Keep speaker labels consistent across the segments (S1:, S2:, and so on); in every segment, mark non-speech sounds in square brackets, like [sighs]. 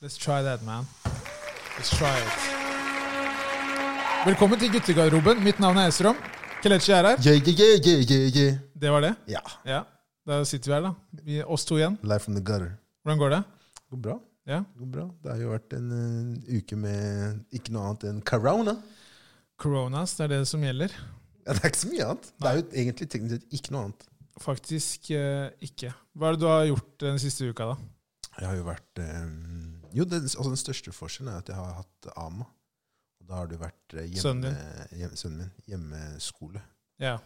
S1: Let's try that, man. Let's try it. Velkommen til guttegarderoben. Mitt navn er Esrom. Kelechi er her.
S2: Yeah, yeah, yeah, yeah, yeah, yeah.
S1: Det var det.
S2: Ja.
S1: Ja, Da sitter vi her, da. Vi, oss to igjen.
S2: Live from the gutter.
S1: Hvordan går det?
S2: Det går bra.
S1: Ja.
S2: Det går bra. Det har jo vært en eh, uke med ikke noe annet enn corona.
S1: Coronas, det er det som gjelder.
S2: Ja, det er ikke så mye annet. Det er jo egentlig teknisk sett ikke noe annet.
S1: Faktisk eh, ikke. Hva er det du har gjort eh, den siste uka, da?
S2: Jeg har jo vært eh, Jo, den, altså den største forskjellen er at jeg har hatt AMA. Og da har du vært eh, hjemme,
S1: Sønnen
S2: hjem- sønnen min. Hjemmeskole.
S1: Ja.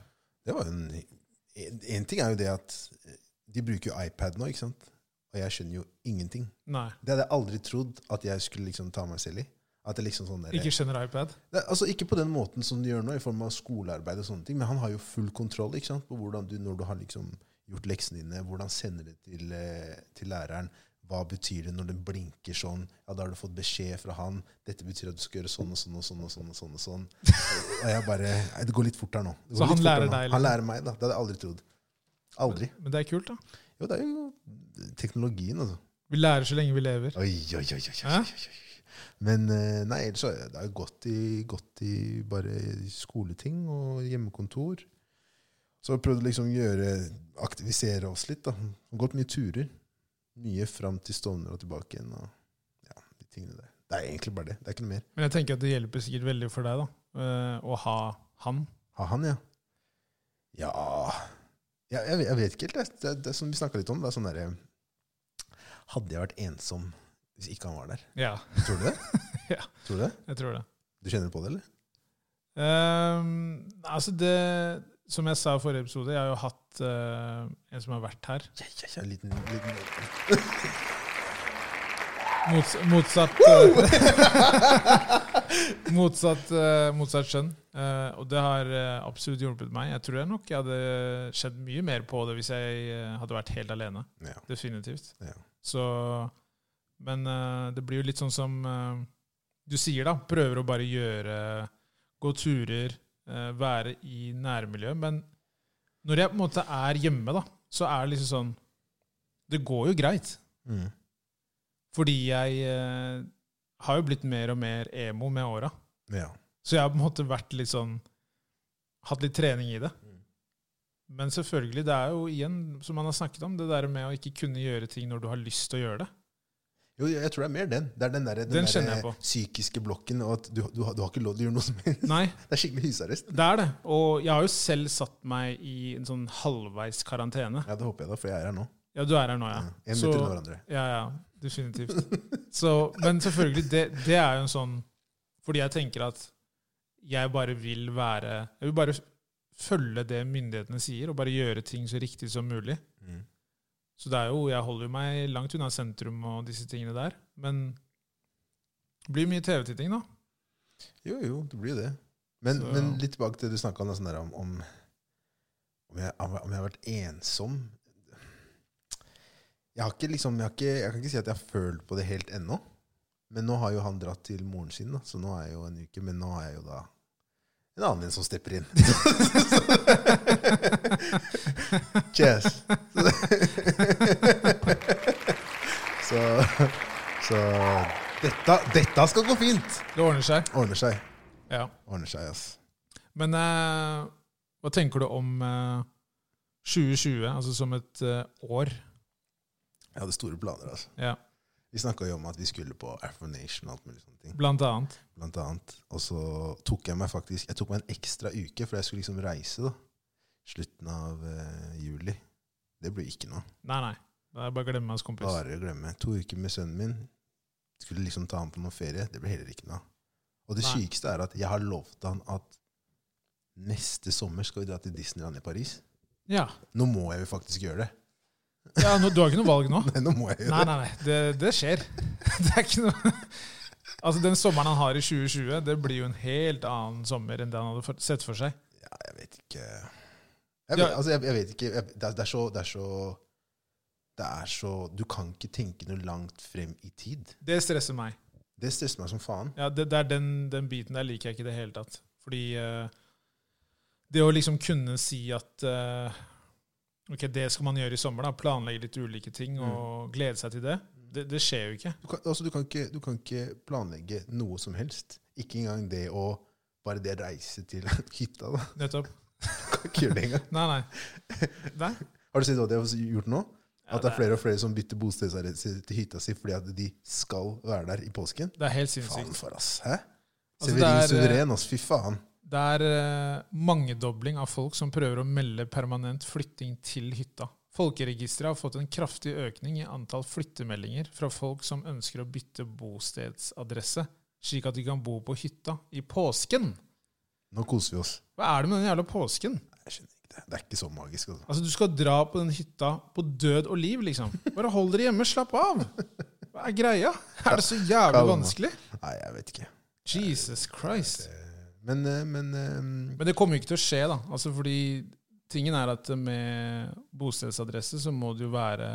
S2: Det var jo en, en, en ting er jo det at eh, de bruker jo iPad nå, ikke sant? Og jeg skjønner jo ingenting.
S1: Nei.
S2: Det hadde jeg aldri trodd at jeg skulle liksom ta meg selv i. At det liksom sånn der,
S1: Ikke skjønner iPad.
S2: Det, er- altså Ikke på den måten som du gjør nå, i form av skolearbeid, og sånne ting, men han har jo full kontroll ikke sant, på hvordan du, når du har liksom gjort leksene dine, hvordan sender det til, eh, til læreren. Hva betyr det når den blinker sånn? Ja, Da har du fått beskjed fra han. 'Dette betyr at du skal gjøre sånn og sånn og sånn.' Og sånn og sånn og sånn. Og jeg bare Nei, Det går litt fort her nå. Det
S1: Så
S2: går
S1: han
S2: litt fort her
S1: lærer
S2: nå.
S1: deg,
S2: Han
S1: liksom?
S2: lærer meg, da. Det hadde jeg aldri trodd. Aldri.
S1: Men det er kult, da.
S2: Jo, det er jo teknologien, altså.
S1: Vi lærer så lenge vi lever.
S2: Oi, oi, oi, oi, oi,
S1: Hæ?
S2: oi. oi. Men eh, nei, ellers så er det er jo godt i, godt i bare skoleting og hjemmekontor. Så vi prøvde liksom å gjøre, aktivisere oss litt. da. Og gått mye turer. Mye fram til Stovner og tilbake igjen. og ja, de tingene der. Det er egentlig bare det. Det er ikke noe mer.
S1: Men jeg tenker at det hjelper sikkert veldig for deg da, eh, å ha han.
S2: Ha han, ja. Ja, ja jeg, jeg vet ikke helt. Det, det, det er som vi snakka litt om. det er sånn der, eh, Hadde jeg vært ensom hvis ikke han var der?
S1: Ja,
S2: Tror du det?
S1: Ja.
S2: Tror du det?
S1: jeg tror det.
S2: Du kjenner på det, eller?
S1: Ehm, altså det Som jeg sa i forrige episode, jeg har jo hatt eh, en som har vært her.
S2: Ja, ja, ja, en liten, liten.
S1: Mots, motsatt eh, [laughs] motsatt, eh, motsatt skjønn. Eh, og det har eh, absolutt hjulpet meg. Jeg tror jeg nok jeg hadde skjedd mye mer på det hvis jeg eh, hadde vært helt alene.
S2: Ja.
S1: Definitivt.
S2: Ja.
S1: Så Men eh, det blir jo litt sånn som eh, du sier, da. Prøver å bare gjøre Gå turer, eh, være i nærmiljøet. Men når jeg på en måte er hjemme, da, så er det liksom sånn Det går jo greit.
S2: Mm.
S1: Fordi jeg eh, har jo blitt mer og mer emo med åra.
S2: Ja.
S1: Så jeg har på en måte vært litt sånn Hatt litt trening i det.
S2: Mm.
S1: Men selvfølgelig, det er jo igjen, som man har snakket om, det der med å ikke kunne gjøre ting når du har lyst til å gjøre det.
S2: Jo, jeg jeg tror det er mer den. Det er den, der, den,
S1: Den
S2: der,
S1: kjenner jeg på.
S2: psykiske blokken, og at du, du, har- du har ikke lov til å gjøre noe som [laughs] helst.
S1: Nei,
S2: Det er skikkelig husarrest.
S1: det er det. Og jeg har jo selv satt meg i en sånn halvveis karantene.
S2: Ja, det håper jeg da, for jeg er her nå.
S1: Ja, du er her nå,
S2: Ja.
S1: ja.
S2: En
S1: Så-
S2: meter unna hverandre.
S1: Ja, ja, definitivt. Så, men selvfølgelig, det, det er jo en sånn Fordi jeg tenker at jeg bare vil være Jeg vil bare følge det myndighetene sier, og bare gjøre ting så riktig som mulig.
S2: Mm.
S1: Så det er jo, jeg holder jo meg langt unna sentrum og disse tingene der. Men det blir mye TV-titting, da.
S2: Jo, jo, det blir jo det. Men,
S1: Så-
S2: men litt tilbake til det du snakka om, da, sånn der om, om, om, jeg, om jeg har vært ensom. Jeg har ikke liksom, jeg, har ikke, jeg kan ikke si at jeg har følt på det helt ennå. Men nå har jo han dratt til moren sin, da, så nå er jeg jo en uke. Men nå har jeg jo da en annen en som stepper inn. Cheers. [laughs] Så, så dette, dette skal gå fint.
S1: Det ordner seg.
S2: Ordner seg.
S1: Ja.
S2: Ordner seg, ass.
S1: Men eh, hva tenker du om eh, 2020, altså som et eh, år?
S2: Jeg hadde store planer, altså.
S1: Ja,
S2: Vi snakka jo om at vi skulle på Afro Nation og alt mulig sånne ting.
S1: blant annet.
S2: Blant annet. Og så tok jeg meg faktisk Jeg tok meg en ekstra uke, for jeg skulle liksom reise, da. Slutten av eh, juli. Det blir ikke noe.
S1: Nei, nei. Det er bare å glemme hans kompis.
S2: Bare å glemme. To uker med sønnen min. Skulle liksom ta han på noen ferie. Det blir heller ikke noe. Og det
S1: Nei.
S2: sykeste er at jeg har lovt han at neste sommer skal vi dra til Disneyland i Paris.
S1: Ja.
S2: Nå må jeg jo faktisk gjøre det. [laughs]
S1: ja nå, du har ikke noe valg nå?
S2: Nei, nå må jeg gjøre
S1: Nei, nei, nei. Det, det skjer. [laughs] Det er ikke noe Altså, Den sommeren han har i 2020, det blir jo en helt annen sommer enn det han hadde for, sett for seg.
S2: Ja, jeg vet ikke Jeg vet,
S1: Ja.
S2: altså, jeg, jeg vet ikke jeg, det, er, det er så Det er så det er så, Du kan ikke tenke noe langt frem i tid.
S1: Det stresser meg.
S2: Det stresser meg som faen.
S1: Ja, det, det er den, den biten der liker jeg ikke i det hele tatt. Fordi eh, det å liksom kunne si at
S2: Mm.
S1: eh, Ok, det skal man gjøre i sommer, da. Planlegge litt ulike ting og glede seg til det. Det, det skjer jo ikke.
S2: Du kan, altså, du, kan ikke, du kan ikke planlegge noe som helst. Ikke engang det å bare det reise til [laughs] hytta. da.
S1: Nettopp.
S2: [laughs] Du kan ikke gjøre det engang.
S1: Nei, nei.
S2: [laughs]
S1: nei.
S2: Har du sett hva de har gjort nå?
S1: Ja,
S2: At det er flere og flere som bytter bostedsadresse til hytta si fordi at de skal være der i påsken?
S1: Det er helt
S2: Faen
S1: sinnssykt.
S2: for ass, hæ?
S1: Altså,
S2: Severin
S1: det er, eh,
S2: Suveren, ass. Fy faen.
S1: Det er eh, mangedobling av folk som prøver å melde permanent flytting til hytta. Folkeregisteret har fått en kraftig økning i antall flyttemeldinger fra folk som ønsker å bytte bostedsadresse, slik at de kan bo på hytta i påsken.
S2: Nå koser vi oss.
S1: Hva er det med den jævla påsken?
S2: Jeg skjønner ikke det. Det er ikke så magisk. Altså.
S1: Altså, Du skal dra på den hytta på død og liv, liksom. Bare hold dere hjemme, slapp av! Hva er greia? Er det så jævlig
S2: Kalma.
S1: vanskelig?
S2: Nei, jeg vet ikke.
S1: Jesus Christ.
S2: Men, eh, men eh,
S1: Men det kommer jo ikke til å skje, da. Altså fordi tingen er at med bostedsadresse så må det jo være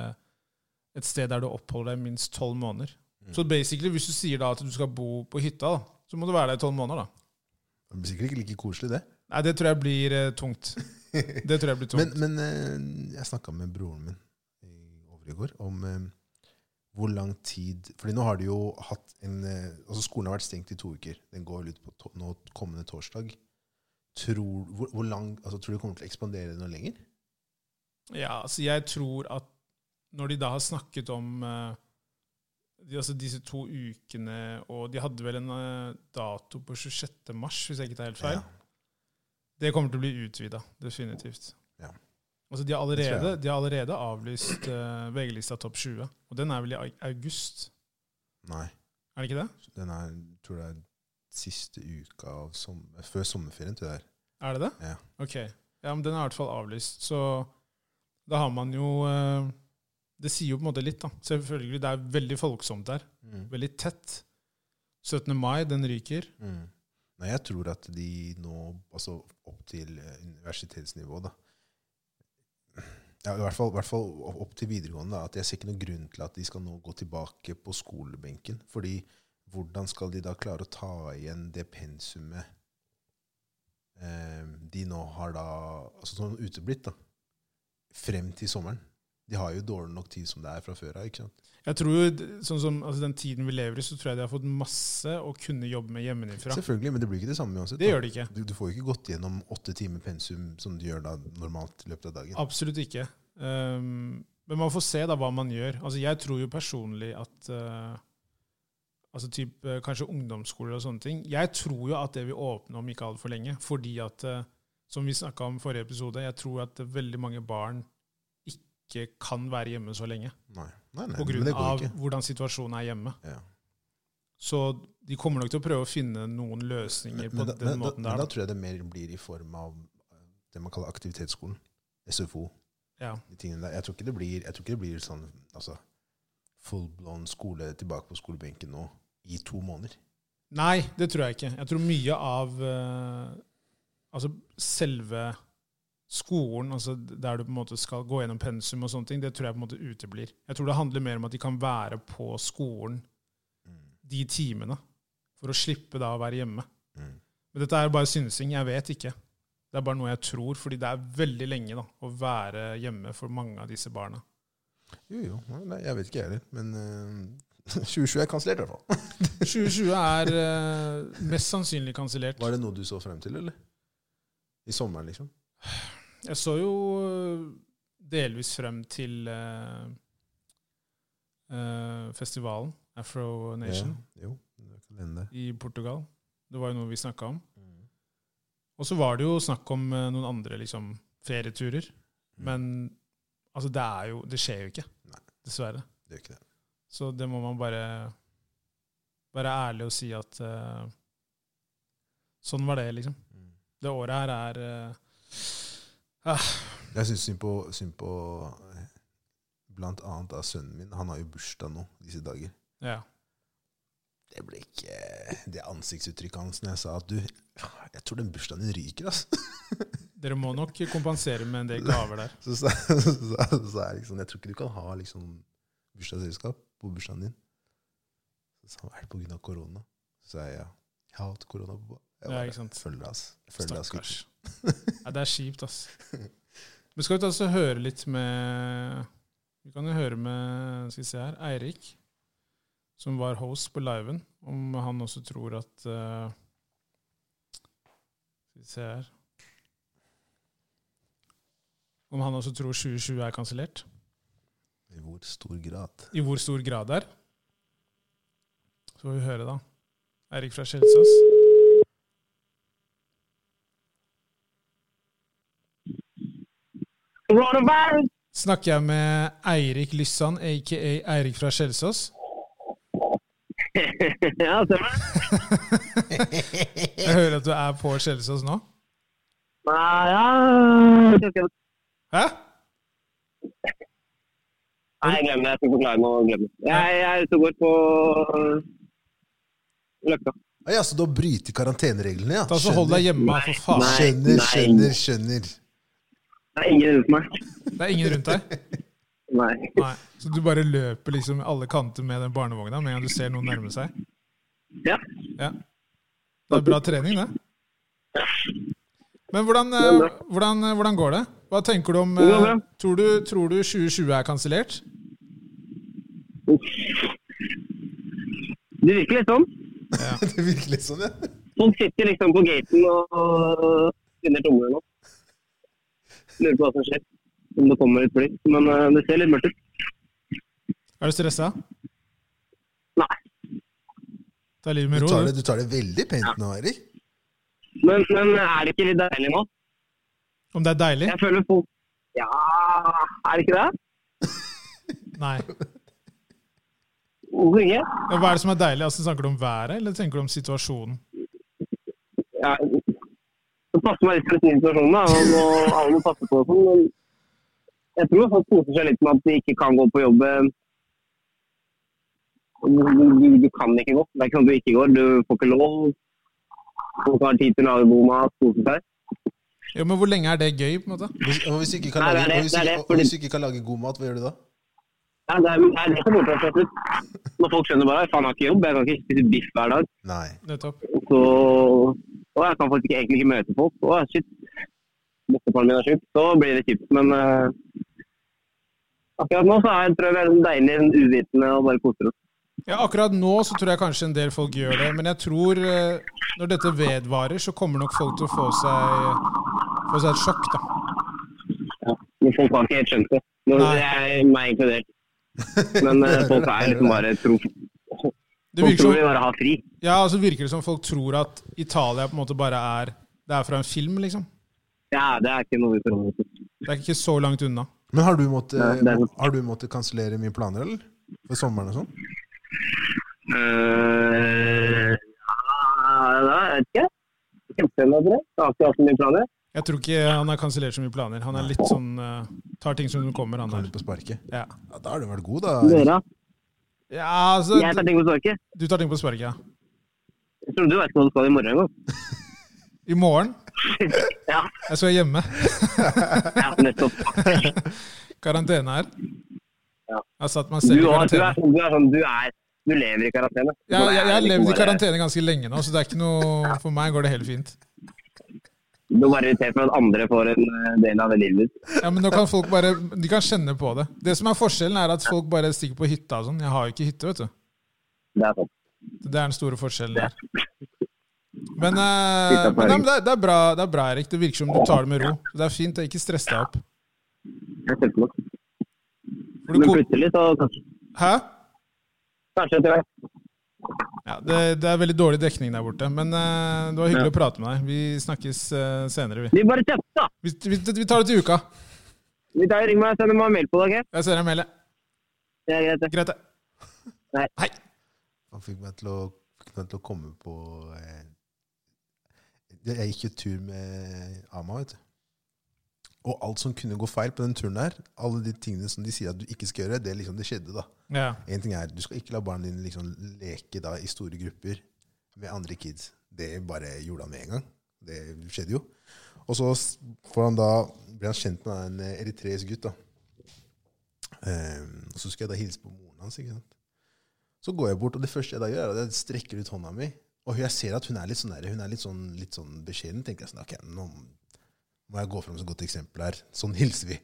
S1: et sted der du oppholder deg minst tolv måneder.
S2: Mm.
S1: Så basically, hvis du sier da at du skal bo på hytta, da, så må du være der i tolv måneder, da.
S2: det blir sikkert ikke like koselig, det.
S1: Nei, det tror jeg blir eh,
S2: [laughs]
S1: tungt. Det tror jeg blir tungt.
S2: Men, men eh, jeg snakka med broren min i over i går om eh, hvor lang tid Fordi nå har de jo hatt en eh, altså Skolen har vært stengt i to uker. Den går vel ut på to, nå kommende torsdag. Tror, hvor, hvor lang, altså, tror du det kommer til å ekspandere noe lenger?
S1: Ja, altså jeg tror at når de da har snakket om eh, de, altså disse to ukene, og de hadde vel en eh, dato på 26. mars, hvis jeg ikke tar helt feil,
S2: Ja.
S1: det kommer til å bli utvida, definitivt.
S2: Ja.
S1: Altså de har
S2: Det tror jeg
S1: allerede,
S2: også.
S1: de har allerede avlyst eh, VG-lista topp 20, og den er vel i au- august,
S2: Nei.
S1: er det ikke det?
S2: Den er, tror jeg, siste uka av som, før sommerferien. Tror jeg. det er.
S1: Er det det?
S2: Ja.
S1: Ok. Ja, men den er i hvert fall avlyst. Så da har man jo eh, Det sier jo på en måte litt, da. Selvfølgelig, det er veldig folksomt der. Veldig tett. 17. mai, den ryker.
S2: Mm. Nei, jeg tror at de nå, altså opp til eh, universitetsnivå, da ja, i hvert, fall, I hvert fall opp- opp til videregående. da, at Jeg ser ikke noen grunn til at de skal nå gå tilbake på skolebenken. fordi hvordan skal de da klare å ta igjen det pensumet eh, de nå har da altså sånn uteblitt, da, frem til sommeren? De har jo dårlig nok tid som det er fra før av. ikke sant?
S1: Jeg tror jo, d- sånn som altså, den tiden vi lever i, så tror jeg de har fått masse å kunne jobbe med hjemmefra.
S2: Selvfølgelig, men det blir ikke det samme uansett.
S1: Det
S2: da.
S1: gjør de ikke.
S2: Du, du får jo ikke gått gjennom åtte timer pensum som du gjør da normalt i løpet av dagen.
S1: Absolutt ikke. Um, men man får se da hva man gjør. Altså, jeg tror jo personlig at uh, altså typ, uh, Kanskje ungdomsskoler og sånne ting. Jeg tror jo at det vil åpne om ikke altfor lenge. Fordi at, uh, som vi snakka om i forrige episode, jeg tror at veldig mange barn ikke kan være hjemme så lenge.
S2: Nei, nei, nei
S1: På
S2: men
S1: grunn
S2: det går
S1: av
S2: ikke.
S1: hvordan situasjonen er hjemme.
S2: Ja.
S1: Så de kommer nok til å prøve å finne noen løsninger på
S2: da-
S1: den
S2: da,
S1: måten
S2: men
S1: der.
S2: da
S1: Da.
S2: tror jeg det mer blir i form av eh, det man kaller aktivitetsskolen. SFO.
S1: Ja.
S2: de tingene der. Jeg tror ikke det blir, jeg tror ikke det blir sånn altså, full-blown skole tilbake på skolebenken nå i to måneder.
S1: Nei, det tror jeg ikke. Jeg tror mye av eh, altså selve skolen, altså der du på en måte skal gå gjennom pensum og sånne ting, det tror jeg på en måte uteblir. Jeg tror det handler mer om at de kan være på skolen de timene, for å slippe da å være hjemme.
S2: Mm.
S1: Men dette er bare synsing, jeg vet ikke. Det er bare noe jeg tror, fordi det er veldig lenge da, å være hjemme for mange av disse barna.
S2: Jo, jo. Nei, jeg vet ikke, jeg heller. Men eh, [laughs] 2020 er kansellert, i hvert fall.
S1: 2020 er eh, mest sannsynlig kansellert.
S2: Var det noe du så frem til, eller? I sommeren, liksom?
S1: Jeg så jo øh, delvis frem til øh, øh, festivalen Afro Nation
S2: Ja, jo. Det kan hende.
S1: i Portugal. Det var jo noe vi snakka om.
S2: Mm.
S1: Og så var det jo snakk om øh, noen andre liksom, ferieturer. Men altså, det, er jo, det skjer jo ikke,
S2: Mm. Nei.
S1: dessverre.
S2: Det gjør ikke det.
S1: Så det må man bare være ærlig og si at øh, sånn var det, liksom. Det året her er øh,
S2: Jeg syns synd på, synd på eh, blant annet av sønnen min. Han har jo bursdag nå disse dager.
S1: Ja.
S2: Det ble ikke det ansiktsuttrykket hans når jeg sa at du, jeg tror den bursdagen din ryker, ass. [laughs]
S1: Dere må nok kompensere med en del gaver der.
S2: Så sa så sa- så sa jeg liksom Jeg tror ikke du kan ha liksom bursdagsselskap på bursdagen din. Så sa han er det på grunn av korona? Så sa jeg ja. Jeg har hatt korona på jeg
S1: Ja,
S2: bare,
S1: ikke sant.
S2: Følg det, ass. Følg det, ass.
S1: Stakkars. Nei, det er kjipt, ass. Men skal vi ta oss og høre litt med Vi kan jo høre med skal vi se her, Eirik som var host på liven, om han også tror at eh, Skal vi se her Om han også tror 2020 er kansellert.
S2: I hvor stor grad? [laughs]
S1: I hvor stor grad det er. Så får vi høre, da. Eirik fra Kjelsås.
S3: Coronavirus?
S1: Snakker jeg med Eirik Lyssan, aka Eirik fra Kjelsås?
S3: ja, stemmer det?
S1: Jeg hører at du er på Kjelsås nå.
S3: Nei, ja jeg skal ikke-
S1: Hæ?
S3: Nei, glem det. Jeg skal forklare meg og glem det. Jeg, jeg er ute og går på Løkka.
S2: Ah, ja, så du har brytet karantenereglene, ja?
S1: Ta så Hold deg hjemme, for faen.
S3: Nei,
S2: Skjønner,
S3: nei.
S2: skjønner, skjønner.
S3: Det er ingen rundt meg.
S1: Det er ingen rundt deg?
S3: Nei.
S1: Nei. Så du bare løper liksom alle kanter med den barnevogna med en gang du ser noen nærme seg?
S3: Ja.
S1: Ja. Det er bra trening, det. Men hvordan, eh, hvordan, hvordan går det? Hva tenker du om
S3: Det går
S1: eh,
S3: bra.
S1: tror, du, tror du 2020 er kansellert?
S3: Det virker litt sånn.
S2: [laughs] Det virker litt sånn, ja.
S3: Folk sitter liksom på gaten og finner tommelen nå. Lurer på hva som skjer. Om det kommer et fly. Men eh, det ser litt mørkt ut.
S1: Er du stressa?
S3: Nei.
S1: Ta livet med
S2: Du
S1: ro.
S2: tar
S1: du.
S2: det, du tar det veldig pent nå, Erik.
S3: Men, men er det ikke litt deilig nå?
S1: Om det er deilig?
S3: Jeg føler folk Ja, er det ikke det?
S1: Nei.
S3: Hvorfor ikke?
S1: Ja, Hva er det som er deilig? Altså, snakker du om været, eller tenker du om situasjonen?
S3: ja, det passer meg litt for den situasjonen. da, og må- Alle må passe på og sånn. Men jeg tror folk koser seg litt med at de ikke kan gå på jobb. eh, Du, du kan ikke gå. Det er ikke sånn at du ikke går. Du får ikke lov. Folk har tid til å lage god mat, kose seg.
S1: Jo, men hvor lenge er det gøy, på en måte?
S2: Hvis, og hvis du ikke kan
S3: Nei, det
S2: lage, og hvis
S3: er det, det
S2: ikke,
S3: er det,
S2: og
S3: fordi-
S2: hvis du ikke kan lage god mat, hva gjør du da?
S3: Ja, det, er, det er det som kommer til å skje til slutt. Når folk skjønner bare at faen, jeg har ikke jobb, jeg kan ikke spise biff hver dag.
S2: Nei.
S1: Nettopp.
S3: Og så, og jeg kan faktisk egentlig ikke møte folk. Å, shit. Bestefaren min er syk. Så blir det kjipt. Men eh, akkurat nå så er jeg, tror jeg vi er sånn deilig sånn uvitende og bare koser oss.
S1: Ja, akkurat nå så tror jeg kanskje en del folk gjør det, men jeg tror eh, når dette vedvarer, så kommer nok folk til å få seg, få seg et sjokk, da.
S3: Ja. Men folk har ikke helt skjønt det. Nå,
S1: Nei.
S3: jeg, meg inkludert. Men
S1: [laughs]
S3: eh, folk er liksom bare tro.
S1: Det
S3: Folk
S1: virker
S3: tror vi
S1: som,
S3: bare har fri.
S1: ja, altså virker det som folk tror at Italia på en måte bare er Det er fra en film, liksom.
S3: Ja, det er ikke noe vi forholder oss til.
S1: Det er ikke så langt unna.
S2: Men har du måttet,
S3: Nei, det er sant.
S2: har du måttet kansellere mye planer, eller? For sommeren og sånn?
S3: Eh, ja, jeg vet ikke. Kjempespennende, tror jeg. Jeg har ikke hatt så mye planer.
S1: Jeg tror ikke han har kansellert så mye planer. Han er litt sånn eh, Tar ting som det kommer, han
S2: Har
S1: der.
S2: du på sparket?
S1: Ja,
S2: Ja, da har du vært god, da.
S3: Dere,
S2: Erik.
S3: da?
S1: ja altså
S3: jeg tar ting på sparket.
S1: Du tar ting på sparket, ja.
S3: Jeg tror du vet hva du skal i morgen engang.
S1: I morgen
S3: Ja,
S1: Jeg skal hjemme.
S3: [laughs] ja, nettopp.
S1: Karantene her.
S3: Ja.
S1: Jeg har satt meg
S3: Du,
S1: selv i
S3: har, du,
S1: karantene.
S3: er, sånn- du er sånn du er Du lever i karantene.
S1: Jeg, jeg, jeg har
S3: Du
S1: levd i
S3: bare-
S1: karantene ganske lenge nå, så det er ikke noe For meg går det helt fint.
S3: Du er bare irritert for at andre får en eh, del av det livet ditt.
S1: Ja, men nå kan folk bare De kan kjenne på det. Det som er forskjellen, er at folk bare stikker på hytta og sånn. Jeg har jo ikke hytte, vet du.
S3: Det er sånn.
S1: Det er den store forskjellen der.
S3: [laughs]
S1: Men, eh, men,
S3: Hytta på
S1: nei,
S3: Erik.
S1: men det, er, det, er bra, det er bra, Erik. Det virker som du tar det med ro. Det er fint. det er Ikke stress deg opp.
S3: Det er kjempeflott.
S1: For du
S3: Men
S1: ko-
S3: plutselig så kanskje,
S1: Hæ?
S3: kanskje etter hvert.
S1: Ja, det, det er veldig dårlig dekning der borte. Men eh, det var hyggelig å prate med deg. Vi snakkes eh, senere, vi.
S3: Vi bare chatter, da!
S1: Vi, vi. vi tar det til uka.
S3: Vi tar Ring meg og send meg en mail på det, OK?
S1: Jeg ser deg melde.
S3: Det er greit, det.
S1: Greit, det.
S3: Nei.
S1: Hei.
S2: Han fikk meg til å, fikk meg til å komme på eh, Jeg gikk jo tur med Ama, vet du. Og alt som kunne gå feil på den turen der, alle de tingene som de sier at du ikke skal gjøre, det liksom det skjedde, da.
S1: Ja.
S2: En ting er, Du skal ikke la barna dine liksom leke da i store grupper med andre kids. Det bare gjorde han med en gang. Det skjedde jo. Og så s- får han da, blir han kjent med en eh, eritreisk gutt. da. Ehm, og Så skal jeg da hilse på moren hans. ikke sant? Så går jeg bort, og det første jeg da gjør, er at jeg strekker ut hånda mi. Og jeg ser at hun er litt sånn, der, hun er litt sånn, litt sånn beskjeden. tenker jeg sånn, ok, nå må jeg gå fram som et godt eksempel her. Sånn hilser vi.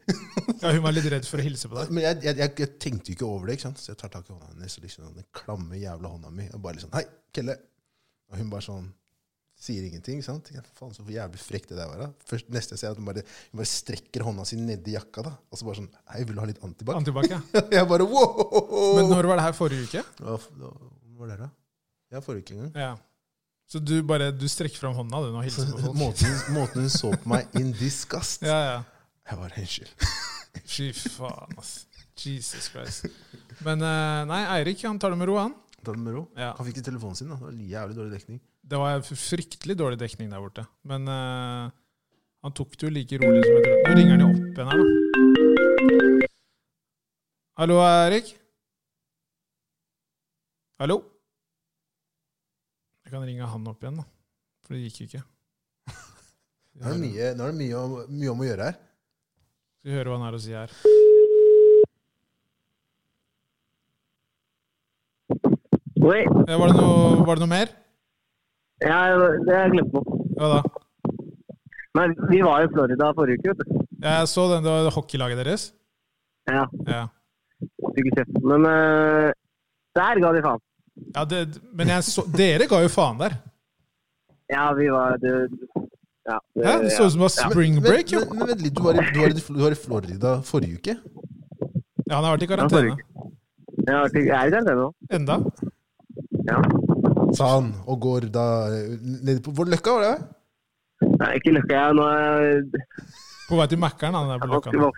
S1: Ja, hun var litt redd for å hilse på deg.
S2: Men jeg, jeg, jeg, jeg tenkte jo ikke over det, ikke sant? så jeg tar tak i hånda hennes og liksom den klamme jævla hånda mi. Og bare liksom Hei, Kelle! Og hun bare sånn Sier ingenting. ikke sant? Jeg, Faen, så jævlig frekk det der var. da. Først Neste jeg ser, at hun bare, hun bare strekker hånda si nedi jakka. da. Og så bare sånn Hei, vil du ha litt antibac?
S1: Antibac, ja.
S2: [laughs] jeg bare wow!
S1: Men når var det her forrige uke?
S2: Hva f- hva var det, da? Jeg får ikke engang.
S1: Ja. Så du bare du strekker fram hånda du, nå og hilser på folk?
S2: [laughs] Måten, måten hun så på meg in disgust
S1: Ja, ja.
S2: Jeg bare Unnskyld.
S1: Fy faen, ass. Jesus Christ. Men eh, nei, Eirik han tar det med ro, han.
S2: Ta det med ro.
S1: Ja.
S2: Han fikk ikke telefonen sin. da. Det var Jævlig dårlig dekning.
S1: Det var fryktelig dårlig dekning der borte. Men eh, han tok det jo like rolig som jeg trodde. Nå ringer han jo opp igjen her, da. Hallo, Erik? Hallo? Jeg kan ringe han opp igjen, da. For det gikk jo ikke.
S2: Nå er [laughs] det mye, nå er det mye, om, mye om å gjøre her.
S1: Skal vi høre hva han har å si her.
S3: Oi,
S1: Eh, Var det noe, var det noe mer?
S3: ja, det har jeg glemt på.
S1: Ja da.
S3: Men vi var i Florida forrige uke, vet du.
S1: Jeg så den, det var hockeylaget deres.
S3: Ja,
S1: Ja.
S3: fikk ikke sett. Men eh, der ga de faen.
S1: ja det, men jeg så, dere ga jo faen der.
S3: Ja, vi var det, ja, det,
S1: Hæ? Det så ut som det var spring break, jo.
S2: men, men, men vent litt, du var, i, du, var i, du var i Florida forrige uke?
S1: Ja, han har vært i
S3: Ja, forrige
S1: karantene.
S3: uke. Ja, jeg er i karantene nå.
S1: Enda.
S3: Ja.
S2: Sa han, og går da eh, ned på Hvor løkka var det?
S3: Nei, ikke løkka jeg. Nå er jeg
S1: På vei til Mækkern, han der på
S3: vanskelig
S1: Løkka.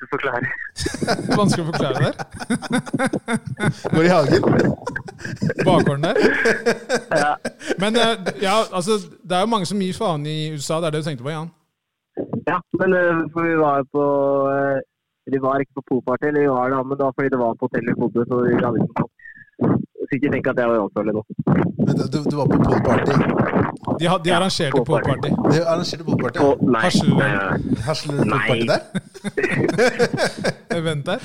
S3: vanskelig
S1: Vanskelig
S3: å forklare.
S1: å forklare det der.
S2: Går i hagen?
S1: Bakgården der.
S3: Ja.
S1: Men eh, ja, altså, det er jo mange som gir faen i USA, det er det du tenkte på, Jan?
S3: Ja, men eh, for vi var på eh, Vi var ikke på poolparty, eller vi var da, men det var fordi det var på hotellet vi bodde, så vi hadde ikke noe. Så ikke tenk at jeg var ansvarlig nå.
S2: Men du, du var på poolparty.
S1: De, har- de arrangerte poolparty.
S2: Det arrangerte poolparty.
S3: Å, nei, Eh,
S1: Harsel.
S3: nei, nei, nei.
S2: Hasler du
S3: Nei.
S2: poolparty der?
S1: Event der.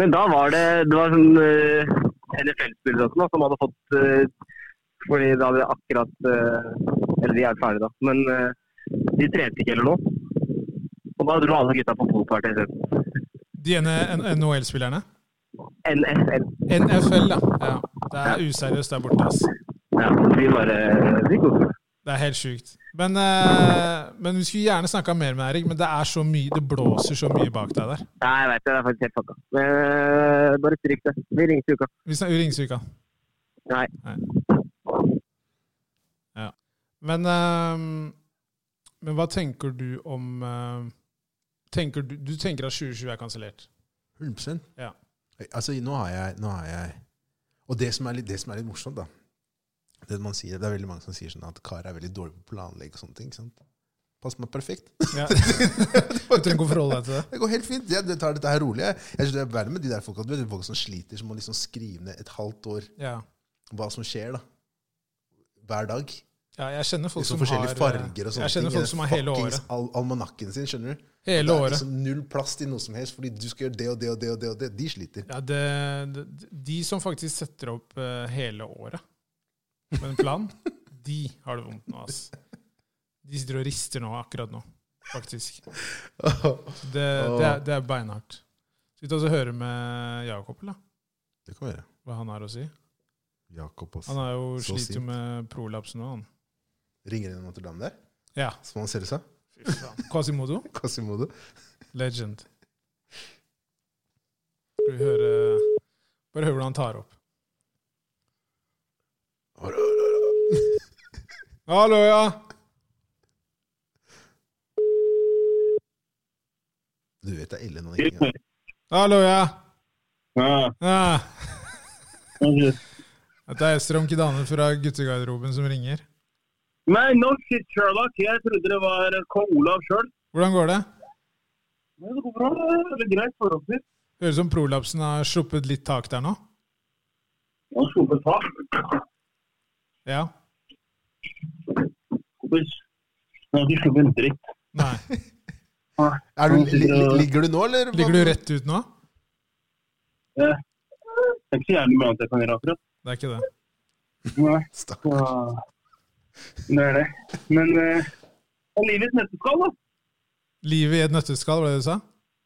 S3: Men da var det Det var sånn uh, NFL-spillere og sånn, da, som hadde fått eh, Fordi da hadde akkurat eh, Eller de er ferdige, da. Men eh, de trente ikke eller noe. Og da dro alle gutta på poolparty isteden.
S1: De ene NHL-spillerne.
S3: NFL.
S1: NFL, da. Ja. Det er useriøst der borte, ass.
S3: Ja, vi bare Vi koste oss.
S1: Det er helt sjukt. Men, eh, men vi skulle gjerne snakka mer med Erik, men det er så mye, det blåser så mye bak deg der.
S3: Nei, jeg vet det. Det er faktisk helt fucka. Men eh, bare stryk det. Vi ringes i uka.
S1: Vi snak- vi ringes i uka.
S3: Nei.
S1: Men, eh, men hva tenker du om eh, tenker du, du tenker at 2020 er kansellert?
S2: 100
S1: Ja.
S2: Altså, nå har jeg, nå har jeg Og det som, er litt, det som er litt morsomt, da det, man sier, det er veldig mange som sier sånn at Kara er veldig dårlig på å planlegge og sånne ting. ikke sant? Pass meg perfekt. [laughs]
S1: Ja. Du trenger ikke å forholde deg til det.
S2: Det går helt fint. Jeg jeg tar dette her rolig. Jeg, jeg synes det er verre med de der folka, du vet, folk som sliter, som må liksom skrive ned et halvt år
S1: Ja.
S2: hva som skjer da. hver dag.
S1: ja jeg kjenner folk
S2: Liksom
S1: som
S2: forskjellige
S1: har eh,
S2: farger og sånne
S1: Jeg kjenner
S2: ting.
S1: folk som har hele året.
S2: Al almanakken sin, skjønner du?
S1: Hele
S2: det er
S1: året.
S2: liksom null plass til noe som helst, fordi du skal gjøre det og det og det og det. og det. De sliter.
S1: Ja, det, det- de som faktisk setter opp eh, hele året med en
S2: [laughs]
S1: plan, de har det vondt nå, ass. De sitter og rister nå, akkurat nå, faktisk. [laughs] Det, det, er, det er beinhardt. Skal vi ta oss og høre med Jakob, eller?
S2: Det kan være.
S1: Hva han har å si?
S2: Jakob også.
S1: Han er jo
S2: Så
S1: sliter jo
S2: sint.
S1: med prolapsen nå, han.
S2: Ringer inn i Notre Dame der,
S1: Ja.
S2: som han selger seg. [laughs]
S1: Quasimodo,
S2: Quasimodo.
S1: legend. Skal vi høre Bare hør hvordan han tar opp. Hallo, ja!
S2: Du vet det er ille når han ringer.
S1: Hallo, ja!
S3: Ja,
S1: Ah.
S3: ok.
S1: Dette er Strom Kidane fra guttegarderoben som ringer.
S3: Nei, no shit, Sherlock. Jeg trodde det var kong Olav sjøl.
S1: Hvordan går det?
S3: Men det går bra. Det er greit forholdsvis.
S1: Høres ut som prolapsen har sluppet litt tak der nå.
S3: Og skuffet tak.
S1: Ja?
S3: Kompis. Jeg har ikke sluppet en dritt.
S1: Nei.
S2: Er du, li, li, ligger du nå, eller?
S1: Ligger du rett ut nå?
S3: Det er ikke så jævlig mye annet jeg kan gjøre akkurat.
S1: Det er ikke det.
S3: Nei,
S2: Stakkars.
S3: så- det er det. Men eh, det er livets nøtteskall, da.
S1: Livet i et nøtteskall, var det det du sa?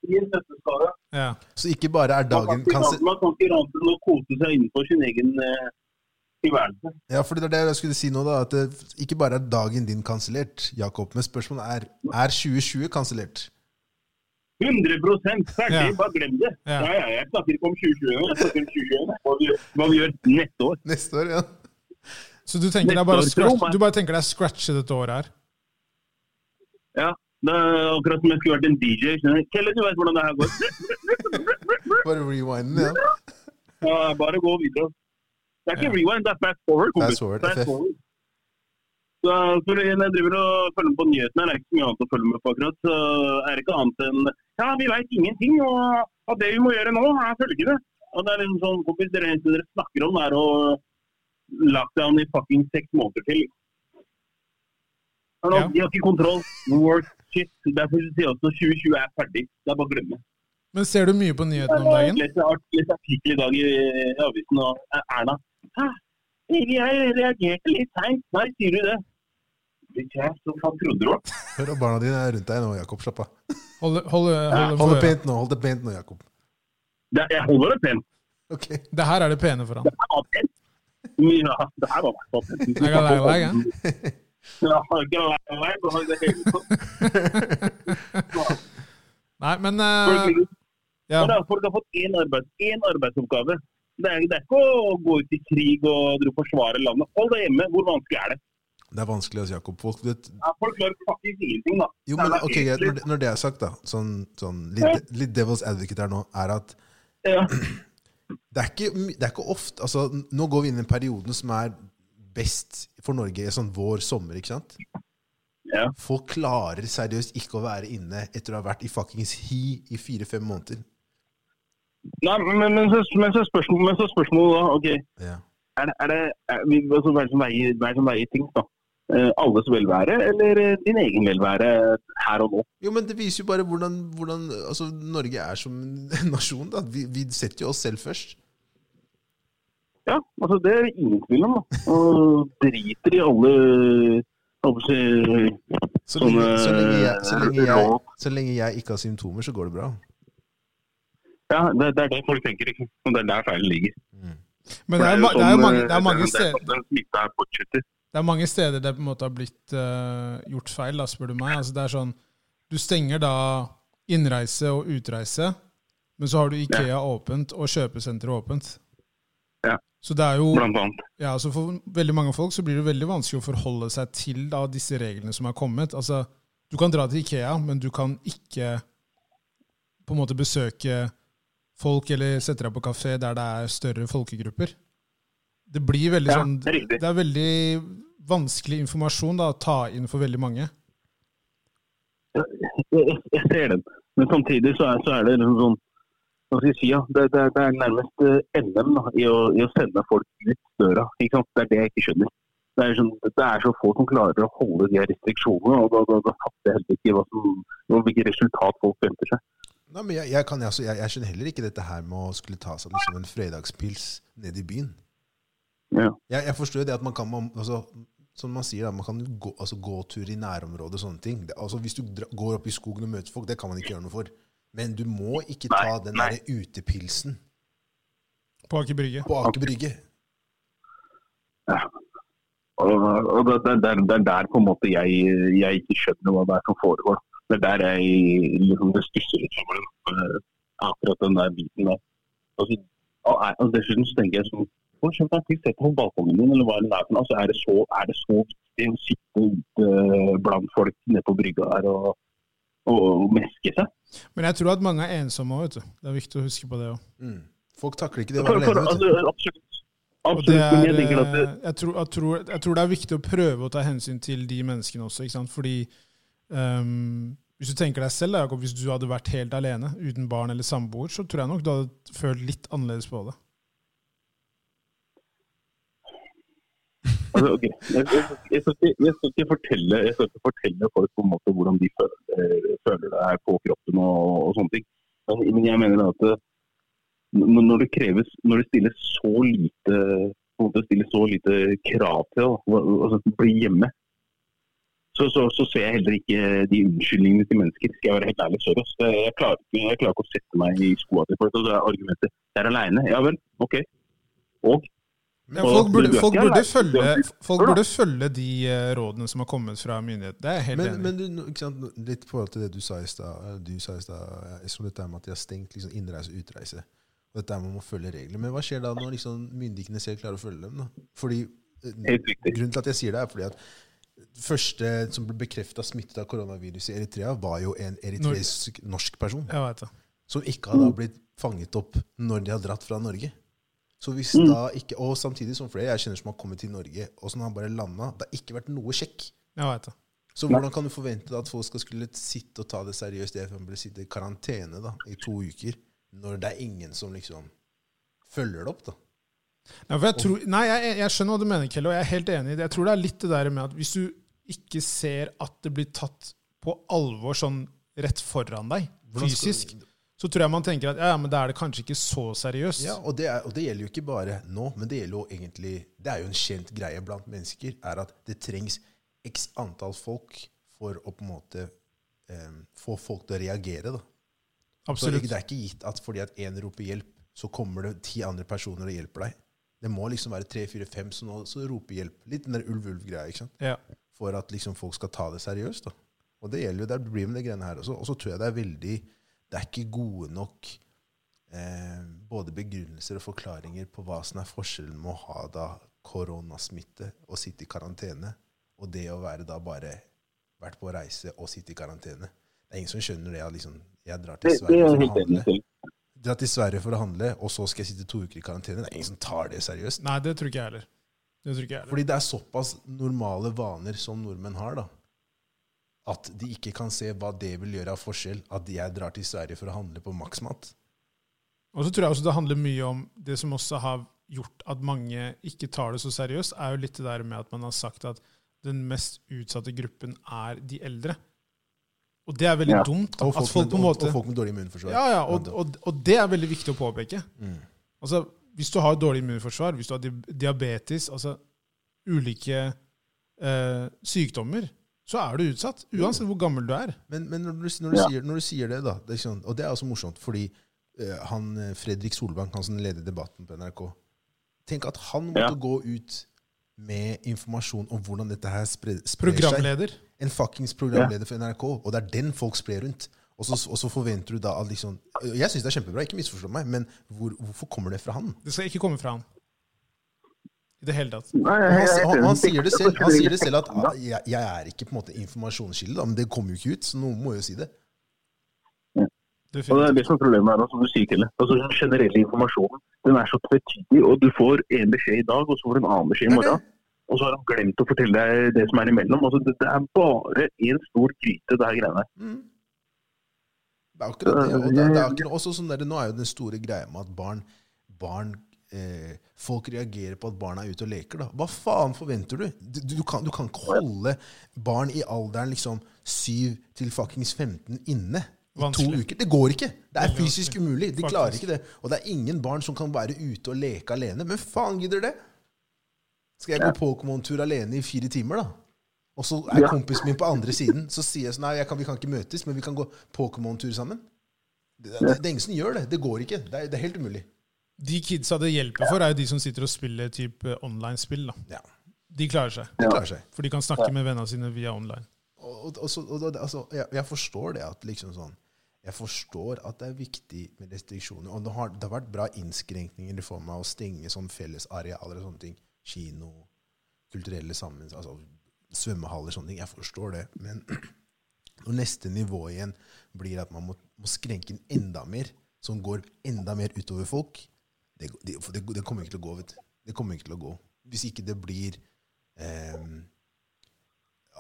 S3: I en nøtteskala.
S1: Ja.
S2: Så ikke bare er
S3: Man
S2: dagen
S3: kan ikke
S2: kan se,
S3: annet- man kan ikke annet enn å kose seg innenfor sin egen eh, tilværelse.
S2: Ja, for det er det jeg skulle si nå, da. At det, ikke bare er dagen din kansellert, Jakob, men spørsmålet er er 2020 kansellert.
S3: 100 ferdig,
S1: Ja.
S3: bare glem det.
S1: Ja.
S3: Ja. Ja, jeg snakker ikke om 2021, jeg snakker om 2021, hva vi, gjør- hva vi gjør neste år.
S2: Neste år, ja.
S1: Så du tenker deg bare
S3: Neste år,
S1: scratch,
S3: tror jeg.
S1: du bare tenker deg scratche dette året her?
S3: Ja, det er akkurat som jeg skulle vært en DJ. skjønner du. Kelle, du vet hvordan det her går.
S2: Bare rewinden, ja.
S3: Ja, bare gå videre. Det er ikke
S1: Ja.
S3: rewind, det er fast forward. kompis.
S2: Fast forward, FF.
S3: Så for når jeg driver og følger med på nyhetene, er det ikke så mye annet å følge med på akkurat. Så er det ikke annet enn ja, vi veit ingenting, og at det vi må gjøre nå, er følgende. Og det er liksom sånn, kompis, dere, eneste dere snakker om, er å lockdown i fucking seks måneder til. Hallo,
S1: Ja.
S3: De har ikke kontroll. Work shit. Derfor sier jeg også 2020 er ferdig. Det er bare å glemme.
S1: Men ser du mye på nyhetene om
S3: Jeg
S1: dagen?
S3: leste art- leste artikkel i dag i i avisen og eh, Erna. Hæ? Jeg reagerte litt seint. Nei, sier du det? Bitch, jeg, så faen trodde du det?
S2: Hør at barna dine er rundt deg nå, Jakob. Slapp av.
S1: Hold, hold, hold,
S2: Hold
S1: hold,
S2: det pent nå, hold det pent nå, Jakob.
S3: Det- Jeg holder det pent.
S2: Ok.
S1: det her er det pene for han.
S3: Det var pent. Men Ja, det her var i hvert fall pent.
S1: Jeg kan lære deg, jeg.
S3: Ja, ikke lei meg, det var i det hele
S1: [laughs]
S3: tatt.
S1: Nei, men eh,
S3: Folk-
S1: ja.
S3: Da, Folk har fått én, arbeids, én arbeidsoppgave. Det er, det er ikke å gå ut i krig og drive og forsvare landet. Hold deg hjemme. Hvor vanskelig er det?
S2: Det er vanskelig, altså, Jakob. Folk vet
S3: Ja, Folk klarer faktisk ingenting, da.
S2: Jo, men ok, greit. Når, det- når det er sagt, da. Sånn, sånn litt, litt devil's advocate her nå, er at
S3: Ja.
S2: det er ikke, my- det er ikke ofte Altså, n- nå går vi inn i den perioden som er best for Norge, sånn vår, sommer, ikke sant?
S3: Ja.
S2: Folk klarer seriøst ikke å være inne etter å ha vært i fuckings hi i fire-fem måneder.
S3: Nei, men, men, så, men, så spørsmål, men så spørsmålet da, ok,
S2: Ja.
S3: er det, er det er, vi, altså, hva er det som veier, hva er det som veier tyngst da? Eh, alles velvære, eller eh, din egen velvære her og nå?
S2: Jo, men det viser jo bare hvordan, hvordan altså, Norge er som en [laughs] nasjon, da. Vi, vi setter jo oss selv først.
S3: Ja, altså det er det ingen tvil om da. Og driter i alle, alle
S2: Så
S3: Sånn,
S2: lenge, så lenge, jeg, så
S3: eh,
S2: lenge, jeg,
S3: rå.
S2: så lenge jeg ikke har symptomer, så går det bra.
S3: Ja, det, det er det folk tenker ikke, og det er der feilen ligger.
S1: Men det er, jo ma- det er, jo mange, det
S3: sånn,
S1: er sånn.
S3: eh,
S1: mange steder
S3: Den smitta her fortsetter.
S1: det er mange steder det på en måte har blitt eh, gjort feil, da, spør du meg. Altså, det er sånn, du stenger da innreise og utreise, men så har du Ikea åpent og kjøpesenteret åpent.
S3: Ja.
S1: Så det er jo,
S3: Blant annet.
S1: ja, altså for veldig mange folk så blir det veldig vanskelig å forholde seg til da, disse reglene som er kommet. Altså, du kan dra til Ikea, men du kan ikke på en måte besøke folk eller sette deg på kafé der det er større folkegrupper. Det blir veldig
S3: Ja,
S1: sånn
S3: det er riktig.
S1: Det er veldig vanskelig informasjon da, å ta inn for veldig mange.
S3: jeg, jeg- jeg ser den. Men samtidig så er, så er det liksom sånn hva skal jeg si, ja, det, det, det er nærmest eh, NM da, i, å, i å sende folk ut døra. Ikke sant? Det er det jeg ikke skjønner. Det er, sånn, det er så få som klarer å holde de her restriksjonene, og da, da, da fatter jeg heller ikke hva som, hvilket resultat folk venter seg.
S2: Nei, men jeg, jeg, kan, altså, jeg, jeg skjønner heller ikke dette her med å skulle ta seg liksom, en fredagspils ned i byen.
S3: Ja.
S2: Jeg, jeg forstår jo det at man kan man, altså, Som man sier, da, man kan jo gå, altså, gåtur i nærområdet og sånne ting. Det, altså, hvis du dra, går opp i skogen og møter folk, det kan man ikke gjøre noe for. Men du må ikke
S3: Nei,
S2: ta den
S3: nei.
S2: der utepilsen
S1: På Aker Brygge.
S2: på Aker Brygge.
S3: Og, og det, det, det, er- det er der på en måte jeg, jeg ikke skjønner hva det er som foregår. Det er der jeg liksom det stusser litt over den, eh, akkurat den der biten der. Og, så- og, er- og dessuten så tenker jeg sånn Hvor skjønte jeg ikke sett på balkongen din, eller hva det er for noe? Altså, er, det så, er det så viktig å sitte ute eh, blant folk nede på brygga her og, og meske seg?
S1: Men jeg tror at mange er ensomme òg, vet du. Det er viktig å huske på det òg.
S2: Mm. Folk takler ikke det å
S3: For,
S2: være
S3: for,
S2: alene. vet du.
S3: altså, absolutt.
S1: Og det
S3: Absolutt.
S1: er,
S3: Men jeg tenker at det,
S1: eh, jeg, tror, jeg, tror, jeg tror det er viktig å prøve å ta hensyn til de menneskene også. ikke sant? Fordi ehm, hvis du tenker deg selv, da, Jakob, hvis du hadde vært helt alene uten barn eller samboer, så tror jeg nok du hadde følt litt annerledes på det.
S3: Altså, ok. jeg, jeg, jeg, skal ikke, jeg, skal ikke fortelle, jeg skal ikke fortelle folk på en måte hvordan de føler, eh, føler det her på kroppen og, og sånne ting. Men, men jeg mener at eh, når, når det kreves, når det stilles så lite på en måte stilles så lite krav til å altså, bli hjemme så, så, så ser jeg heller ikke de unnskyldningene til mennesker. Skal jeg være helt ærlig, sorry. ass. Jeg, jeg, klarer ikke, jeg klarer ikke å sette meg i skoa til folk. Og så er argumentet jeg er aleine. Ja vel, OK. Og
S1: Men folk burde, folk burde, følge,
S3: følge
S1: folk burde følge de eh, rådene som har kommet fra myndighetene. Det er jeg helt
S2: Men,
S1: enig i.
S2: men du, nå- ikke sant, nå- litt i forhold til det du sa i stad, eh, du sa i stad, eh, som dette her med at de har stengt liksom, innreise og utreise. Og dette her med å følge regler. Men hva skjer da når liksom, myndighetene selv klarer å følge dem? da? Fordi, eh,
S3: Helt riktig.
S2: grunnen til at jeg sier det, er fordi at det første som ble bekrefta smittet av koronaviruset i Eritrea, var jo en eritreisk norsk person
S1: Jeg vet det.
S2: som ikke hadde blitt fanget opp når de har dratt fra Norge. Så hvis da ikke, Og samtidig som flere jeg kjenner som har kommet til Norge, og som har bare landa Det har ikke vært noe sjekk.
S1: Jeg vet det.
S2: Så hvordan kan du forvente da at folk skal skulle sitte og ta det seriøst i FN, bli sitte i karantene da, i to uker, når det er ingen som liksom følger det opp? da?
S1: Nei, for jeg, tror, nei jeg, jeg skjønner hva du mener, Kelle, og jeg er helt enig i det. Jeg tror det er litt det der med at hvis du ikke ser at det blir tatt på alvor sånn rett foran deg,
S2: Hvordan skal-
S1: fysisk, så tror jeg man tenker at ja, ja, men da er det kanskje ikke så seriøst.
S2: Ja, og det, er, og det gjelder jo ikke bare nå, men det gjelder jo egentlig Det er jo en kjent greie blant mennesker, er at det trengs x antall folk for å på en måte em, få folk til å reagere. da. Så
S1: Absolutt.
S2: ikke- det er ikke gitt at fordi at én roper hjelp, så kommer det ti andre personer og hjelper deg. Det må liksom være tre, fire, fem som også roper hjelp. Litt den der ulv-ulv-greia. ikke sant?
S1: Ja.
S2: for at liksom folk skal ta det seriøst. Da. Og det gjelder jo, det blir med de greiene her også. Og så tror jeg det er veldig Det er ikke gode nok eh, både begrunnelser og forklaringer på hva som er forskjellen med å ha da koronasmitte og sitte i karantene, og det å være da bare vært på reise og sitte i karantene. Det er ingen som skjønner det. At liksom, jeg drar til
S3: det, det er
S2: Sverige for å
S3: jeg helt enig
S2: handle,
S3: i.
S2: drar til Sverige for å handle, og så skal jeg sitte to uker i karantene. Det er ingen som tar det seriøst.
S1: Nei, det tror ikke jeg heller. Det tror ikke jeg heller.
S2: Fordi det er såpass normale vaner som nordmenn har, da. At de ikke kan se hva det vil gjøre av forskjell at jeg drar til Sverige for å handle på Maxmat.
S1: Og så tror jeg også det handler mye om det som også har gjort at mange ikke tar det så seriøst, er jo litt det der med at man har sagt at den mest utsatte gruppen er de eldre. Og det er veldig
S3: Ja.
S1: dumt. da.
S2: Og folk,
S1: at folk
S2: med,
S1: på en måte...
S2: og, og folk med dårlig immunforsvar.
S1: Ja, ja, og, og, og det er veldig viktig å påpeke.
S2: Mm.
S1: Altså, hvis du har dårlig immunforsvar, hvis du har di- diabetes, altså ulike eh, sykdommer, så er du utsatt.
S2: Mm.
S1: Uansett hvor gammel du er.
S2: Men, men når, du, når, du
S3: Ja.
S2: sier, når du sier det, da det er ikke sånn, Og det er også morsomt, fordi eh, han, eh, Fredrik Solvang, han som leder debatten på NRK Tenk at han måtte
S3: Ja.
S2: gå ut med informasjon om hvordan dette her spre, sprer seg.
S1: Programleder.
S2: en fuckings programleder for NRK, og det er den folk sprer rundt. Og så, og så forventer du da at liksom Jeg syns det er kjempebra, ikke misforstå meg, men hvor, hvorfor kommer det fra han?
S1: Det skal ikke komme fra han. I det hele tatt.
S3: Nei,
S2: Og
S3: jeg er
S2: Han,
S3: helt
S2: han, han,
S3: enig.
S2: sier det selv, han sier det selv at ah, jeg, jeg er ikke på en måte informasjonskilde, da, men det kommer jo ikke ut, så noen må jo si det.
S3: Og Det er
S1: Definitivt.
S3: det som er problemet her, da, som du sier, Kelle. Altså, den generelle informasjonen den er så tvetydig, og du får en beskjed i dag, og så får du en annen beskjed i morgen. Og så har han glemt å fortelle deg det som er imellom. Altså, det, det er bare én stor gryte, det her greiene. her.
S2: Mm. Det er akkurat det. Og det, det er ikke noe, også sånn der, nå er jo den store greia med at barn, barn eh, Folk reagerer på at barna er ute og leker. da. Hva faen forventer du? Du, du, kan, du kan ikke holde barn i alderen liksom 7 til fuckings 15 inne. I to
S1: Vanskelig.
S2: uker. Det går ikke! Det er
S1: Veldig
S2: fysisk
S1: vanskelig.
S2: umulig. De
S1: Faktisk.
S2: klarer ikke det. Og det er ingen barn som kan være ute og leke alene. Men faen gidder det? Skal jeg gå Pokémon-tur alene i fire timer, da? Og så er
S3: Ja.
S2: kompisen min på andre siden. Så sier jeg sånn Nei, jeg kan, vi kan ikke møtes, men vi kan gå Pokémon-tur sammen. Det, det, det er ingen som gjør det. Det går ikke. Det er, det er helt umulig.
S1: De kidsa det hjelper for, er jo de som sitter og spiller type online-spill. da.
S2: Ja,
S1: De klarer seg.
S2: Det klarer seg.
S1: For de kan snakke med vennene sine via online.
S2: Og, og, og, så- og, da- altså, jeg, jeg forstår det at liksom sånn Jeg forstår at det er viktig med restriksjoner. Og det har, det har vært bra innskrenkninger i form av å stenge sånn fellesarealer og sånne ting. Kino, kulturelle sammen, altså svømmehaller, sånne ting. Jeg forstår det. Men [clears throat] når neste nivå igjen blir at man må, må skrenke inn enda mer, som går enda mer utover folk, det, det, for det, det kommer ikke til å gå, vet du. Det kommer ikke til å gå. Hvis ikke det blir ehm,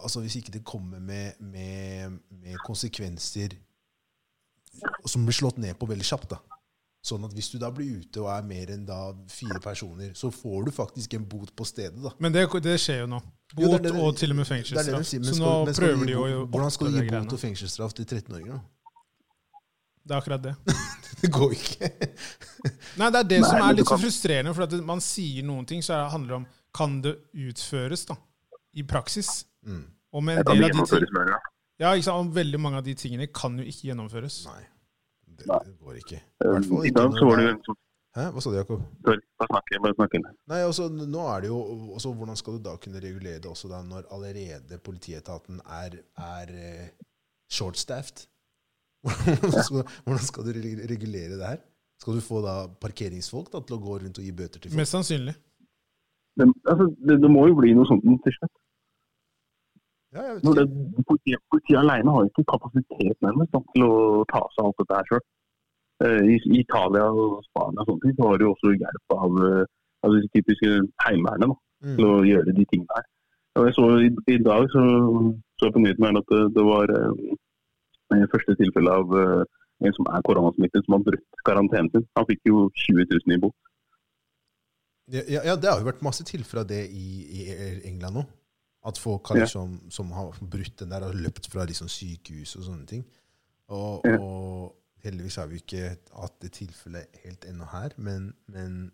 S2: Altså hvis ikke det kommer med, med, med konsekvenser som blir slått ned på veldig kjapt, da. Sånn at hvis du da blir ute og er mer enn da fire personer, så får du faktisk en bot på stedet, da.
S1: Men det, det skjer jo nå.
S2: Jo, det er
S1: Bot
S2: det-
S1: og til og med
S2: Det er det de
S1: fengselsstraff.
S2: sier, men
S1: Så nå
S2: skal- men skal du
S1: prøver
S2: gi
S1: de å
S2: bot- Hvordan skal du
S1: oppdage
S2: gi bot
S1: greiene.
S2: og fengselsstraff til 13-åringer? da? [laughs]
S1: Det er akkurat det.
S2: Det går ikke. [laughs]
S1: Nei, det er det
S3: Nei,
S1: som
S3: men
S1: er
S3: du
S1: litt så
S3: kan-
S1: frustrerende, for at man sier noen ting, så er- handler det om kan det utføres da, i praksis.
S2: Mm.
S1: Og med
S3: Det
S1: en
S3: kan
S1: del av de ting-
S3: gjennomføres med en gang.
S1: ja, ikke sant? Og veldig mange av de tingene kan jo ikke gjennomføres.
S2: Nei. Det,
S3: Nei.
S2: det går ikke. I hvert fall
S3: Eh, I
S2: ikke
S3: dag
S2: når
S3: så var det
S2: det
S3: jo
S2: er-
S3: en som
S2: Hæ? Hva sa du, Jakob?
S3: Sorry, bare snakke. Bare snakke.
S2: Nei, altså, nå er det jo også, Hvordan skal du da kunne regulere det også da, når allerede politietaten er, er eh, shortstaffed? [laughs] Hvordan skal, hvordan skal du re- regulere det her? Skal du få da parkeringsfolk da, til å gå rundt og gi bøter til folk?
S1: Mest sannsynlig.
S3: Men, altså, det, det må jo bli noe sånt til slutt.
S2: Ja, jeg
S3: Når
S2: vet
S3: det,
S2: ikke.
S3: politiet, politiet alene har jo ikke kapasitet nærmest da, til å ta seg av alt dette her sjøl. I i Italia og Spania og sånne ting, så har de jo også hjelp av, eh, av de typiske heimevernene da, til
S2: Mm.
S3: å gjøre de tingene her. Og jeg så I, i dag så, så jeg på nyheten her at det, det var eh, første tilfelle av eh, en som er koronasmittet, som har brutt karantenen sin. Han fikk jo 20 000 i bot.
S2: Ja, ja, ja, det har jo vært masse tilfeller av det i, i England nå. At folk har
S3: Ja.
S2: liksom, som har brutt den der, har løpt fra liksom sykehus og sånne ting. Og,
S3: Ja.
S2: og heldigvis har vi ikke hatt det tilfellet helt ennå her, men, men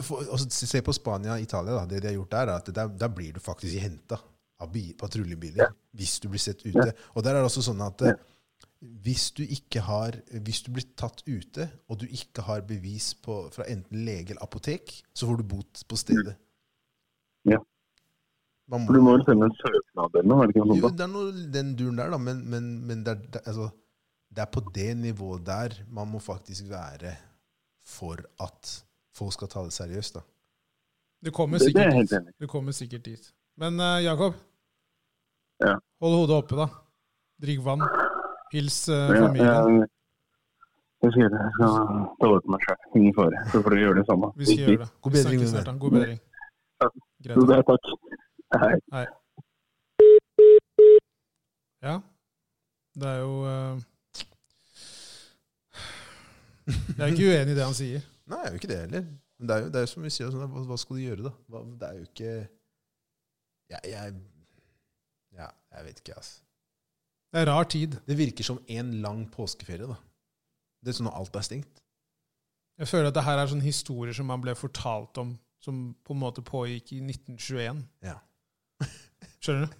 S2: for, altså, Se på Spania og Italia. Da. Det de har gjort der, er at der, der blir du faktisk henta av bi- patruljebiler
S3: Ja.
S2: hvis du blir sett ute. Og der er det også sånn at eh, hvis du, ikke har, hvis du blir tatt ute, og du ikke har bevis på, fra enten lege eller apotek, så får du bot på stedet.
S3: Ja.
S2: Man
S3: For Du må vel sende en søknad eller noe? er det ikke noe sånt
S2: jo,
S3: da?
S2: det er noe den duren der, da, men, men, men det, er, det, er- altså, det er på det nivået der man må faktisk være for at folk skal ta det seriøst. da.
S1: Det kommer
S3: Det, det er jeg
S1: sikkert
S3: helt
S1: dit.
S3: enig i.
S1: Det kommer sikkert dit. Men eh, Jakob,
S3: Ja.
S1: hold hodet oppe, da. Drikk vann. Hils eh,
S3: Ja,
S1: familien.
S3: jeg- Jeg skal gjøre det. Jeg skal ta vare på meg sjøl. Ingen fare. Så får dere gjøre det samme.
S1: Vi skal gjøre det.
S2: God
S1: Vi
S2: bedring,
S1: snakkes
S2: min
S1: snart,
S2: venn.
S1: da. God bedring.
S3: Ja.
S1: Greit.
S3: Jo,
S1: da.
S3: det er takk. Hei.
S1: Ja. Det er jo eh, [sighs] Jeg er ikke uenig i det han sier.
S2: Nei, jeg er jo ikke det heller. Men det er jo, det er jo som vi sier, sånn, hva, hva skal du gjøre, da? Hva, det er jo ikke jeg, jeg, Ja, jeg vet ikke, altså.
S1: Det er rar tid.
S2: Det virker som en lang påskeferie, da. Det er sånn når alt er stengt.
S1: Jeg føler at det her er sånne historier som man ble fortalt om, som på en måte pågikk i 1921.
S2: Ja.
S1: [laughs] Skjønner du?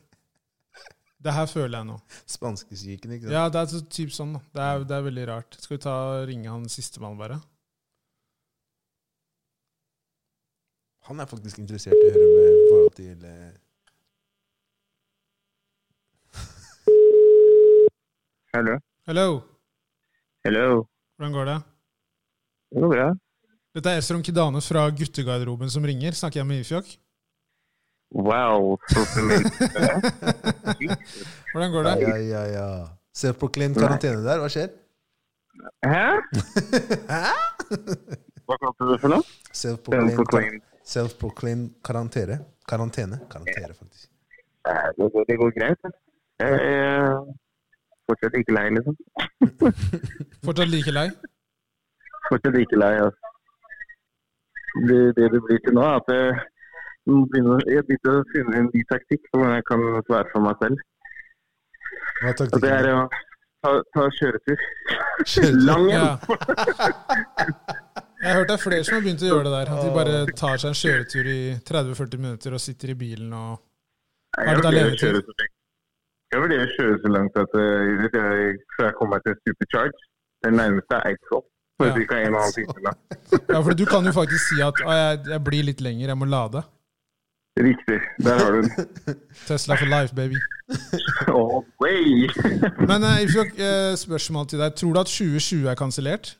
S1: Det her føler jeg nå.
S2: Spanskesyken, ikke sant?
S1: Ja, det er så, typ sånn. da. Det er, det er veldig rart. Skal vi ta og ringe han sistemann, bare?
S2: Han er faktisk interessert i å høre med forhold til eh,
S3: Hallo.
S1: Hello!
S3: Hello.
S1: Hvordan går det?
S3: Det går bra.
S1: Dette er Estrom Kidane fra guttegarderoben som ringer. Snakker jeg med Ifjok?
S3: Wow.
S1: Hvordan går det?
S2: Ja, ja, ja. Selvproklamt karantene der, hva skjer?
S3: Hæ?
S2: Hæ?
S3: Hva kalte du det for noe?
S2: Self-proclaimed self-proclaimed karantere. Karantene. Karantene, faktisk. [laughs]
S3: Nei, Det går- det går greit. det. Jeg er fortsatt ikke lei, liksom. [laughs]
S1: Fortsatt like lei?
S3: Fortsatt ikke lei. Altså. Det, det det blir til nå, er at jeg må begynne å- jeg begynte å finne en ny taktikk for hvordan jeg kan svare for meg selv.
S2: Hva er
S3: Og det er
S2: taktikken?
S3: å ta, ta kjøretur.
S2: Kjøretur?
S3: Lang en.
S1: Ja. Jeg har hørt det er flere som har begynt å gjøre det der. At de bare tar seg en kjøretur i 30-40 minutter og sitter i bilen og
S3: [laughs]
S1: Er
S3: Nei, Jeg
S1: det da
S3: vurderer
S1: levetid?
S3: å kjøre så lenge- jeg vurderer å kjøre så langt at eh, hvis jeg, før jeg kommer meg til Supercharge, den nærmeste er Eidsvoll. For
S1: Ja,
S3: cirka en og en halv time. da.
S1: Ja, for du kan jo faktisk si at «Å, jeg, jeg blir litt lenger, jeg må lade.
S3: Riktig. Der har du
S1: [laughs]
S3: den.
S1: Tesla for life, baby.
S3: Oh, way. [laughs]
S1: Men eh, Ifjok, eh, spørsmål til deg. Tror du at 2020 er kansellert?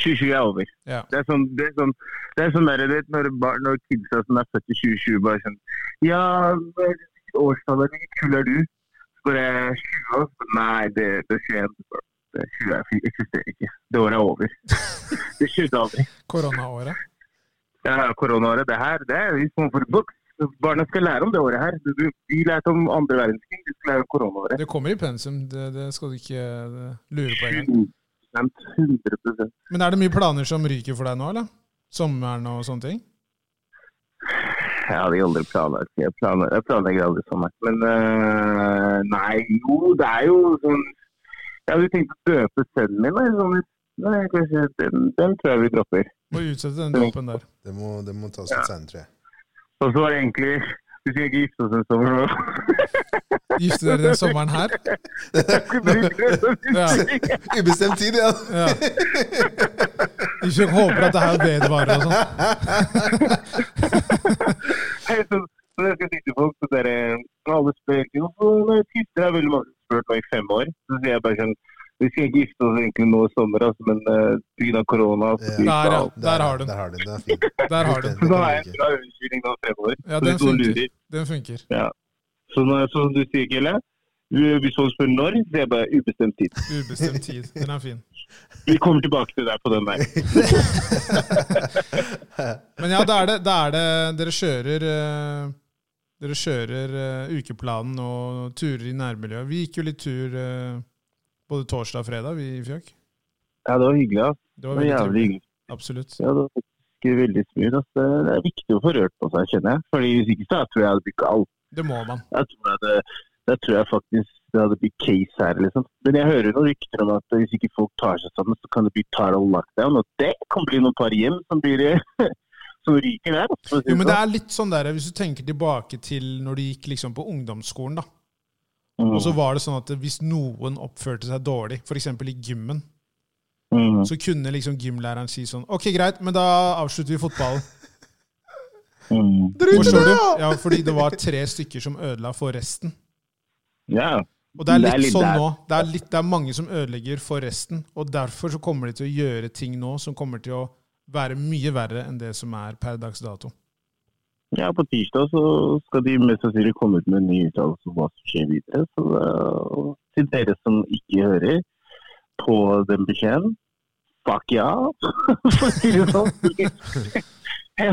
S3: 2020 er over.
S1: Ja.
S3: Det er sånn, det er sånn, det er sånn der, du vet, når, bar- når kidsa som er født i 2020 bare sånn Ja, hvilket årstall er det? Hvor kul er du? Så bare 20 år? Nei, det, det skjer ikke. Det 20 er- eksisterer ikke. Det året er over. Det skjedde aldri.
S1: Koronaåret?
S3: Ja, koronaåret, det her, det er liksom for books. Barna skal lære om det året her. Du- du- Vi lærte om andre verdenskrig, de skal lære om koronaåret.
S1: Det kommer i pensum, det, det skal du ikke eh, lure på engang.
S3: 100%, 100
S1: Men er det mye planer som ryker for deg nå, eller? Sommeren og sånne ting?
S3: Jeg hadde aldri planlagt Jeg planlegger, jeg planlegger aldri sånn. her. Men øh, nei, jo, det er jo sånn Jeg hadde tenkt å døpe sønnen min. da, Sånn, nei, kanskje, den, den tror jeg vi dropper.
S1: Må utsette den dråpen der.
S2: Det må, det må tas litt seinere, tror jeg. [laughs]
S3: Og så var det egentlig Vi skal ikke gifte oss en sommer nå. [laughs]
S1: Gifte dere den sommeren her?
S3: Vi bruker det som
S1: Ja.
S3: unnskyldning.
S2: Ubestemt tid, ja.
S1: Ja. Ikke håper at det her vedvarer og
S2: [laughs]
S1: sånn.
S3: Så så jeg skal si til folk så dere, alle spør hvorfor nei, gifter er veldig mange som har spurt nå i fem år. Så sier jeg bare sånn Vi skal ikke gifte oss egentlig nå i sommer, altså, men eh, pga. korona så
S2: Ja.
S3: blir det
S1: Der, ja.
S3: alt.
S1: Der har du den.
S2: Der har du den, det er fint. [laughs]
S1: Der har du den.
S3: Så da er jeg en bra unnskyldning nå fremover.
S1: Ja,
S3: Så
S1: den
S3: hvis noen
S1: funker.
S3: lurer,
S1: Den funker.
S3: Så når, som du sier, Kelle, hvis folk spør når, så er det bare ubestemt tid.
S1: Ubestemt tid. Den er fin.
S3: Vi kommer tilbake til deg på den der.
S1: Men ja, da er det, da er det Dere kjører eh, Dere kjører eh, ukeplanen og turer i nærmiljøet. Vi gikk jo litt tur eh, både torsdag og fredag, vi i Fjøk.
S3: Ja, det var hyggelig. ass.
S1: Det
S3: Det
S1: var
S3: var
S1: veldig
S3: jævlig
S1: trivelig.
S3: hyggelig.
S1: Absolutt.
S3: Ja, det var faktisk veldig smooth. ass. Det det er viktig å få rørt på seg, kjenner jeg. Fordi Hvis ikke så jeg tror jeg hadde blitt alt.
S1: Det må man.
S3: Jeg tror, jeg hadde, jeg tror jeg faktisk det hadde blitt case her, liksom. Men jeg hører noen rykter om at hvis ikke folk tar seg sammen, så kan det bli total lockdown. Og det kan bli noen par hjem som blir [laughs] som ryker der. ass, for å si
S1: Jo, men det
S3: sånn.
S1: er litt sånn der, Hvis du tenker tilbake til når du gikk liksom på ungdomsskolen, da.
S3: Mm,
S1: Og så var det sånn at hvis noen oppførte seg dårlig, f.eks. i gymmen,
S3: mm,
S1: så kunne liksom gymlæreren si sånn Ok, greit, men da avslutter vi fotballen.
S3: mm.
S1: Hvor står du? Ja, fordi det var tre stykker som ødela for resten.
S3: Ja.
S1: Og det er litt,
S3: Det er litt
S1: sånn
S3: der.
S1: nå. Det er, litt, det er mange som ødelegger for resten. Og derfor så kommer de til å gjøre ting nå som kommer til å være mye verre enn det som er per dags dato.
S3: Ja, på tirsdag så skal de mest sannsynlig komme ut med en ny uttalelse om hva som skjer videre. Så eh, til dere som ikke hører på den beskjeden, fuck ja! For å si det sånn. [laughs] Ja,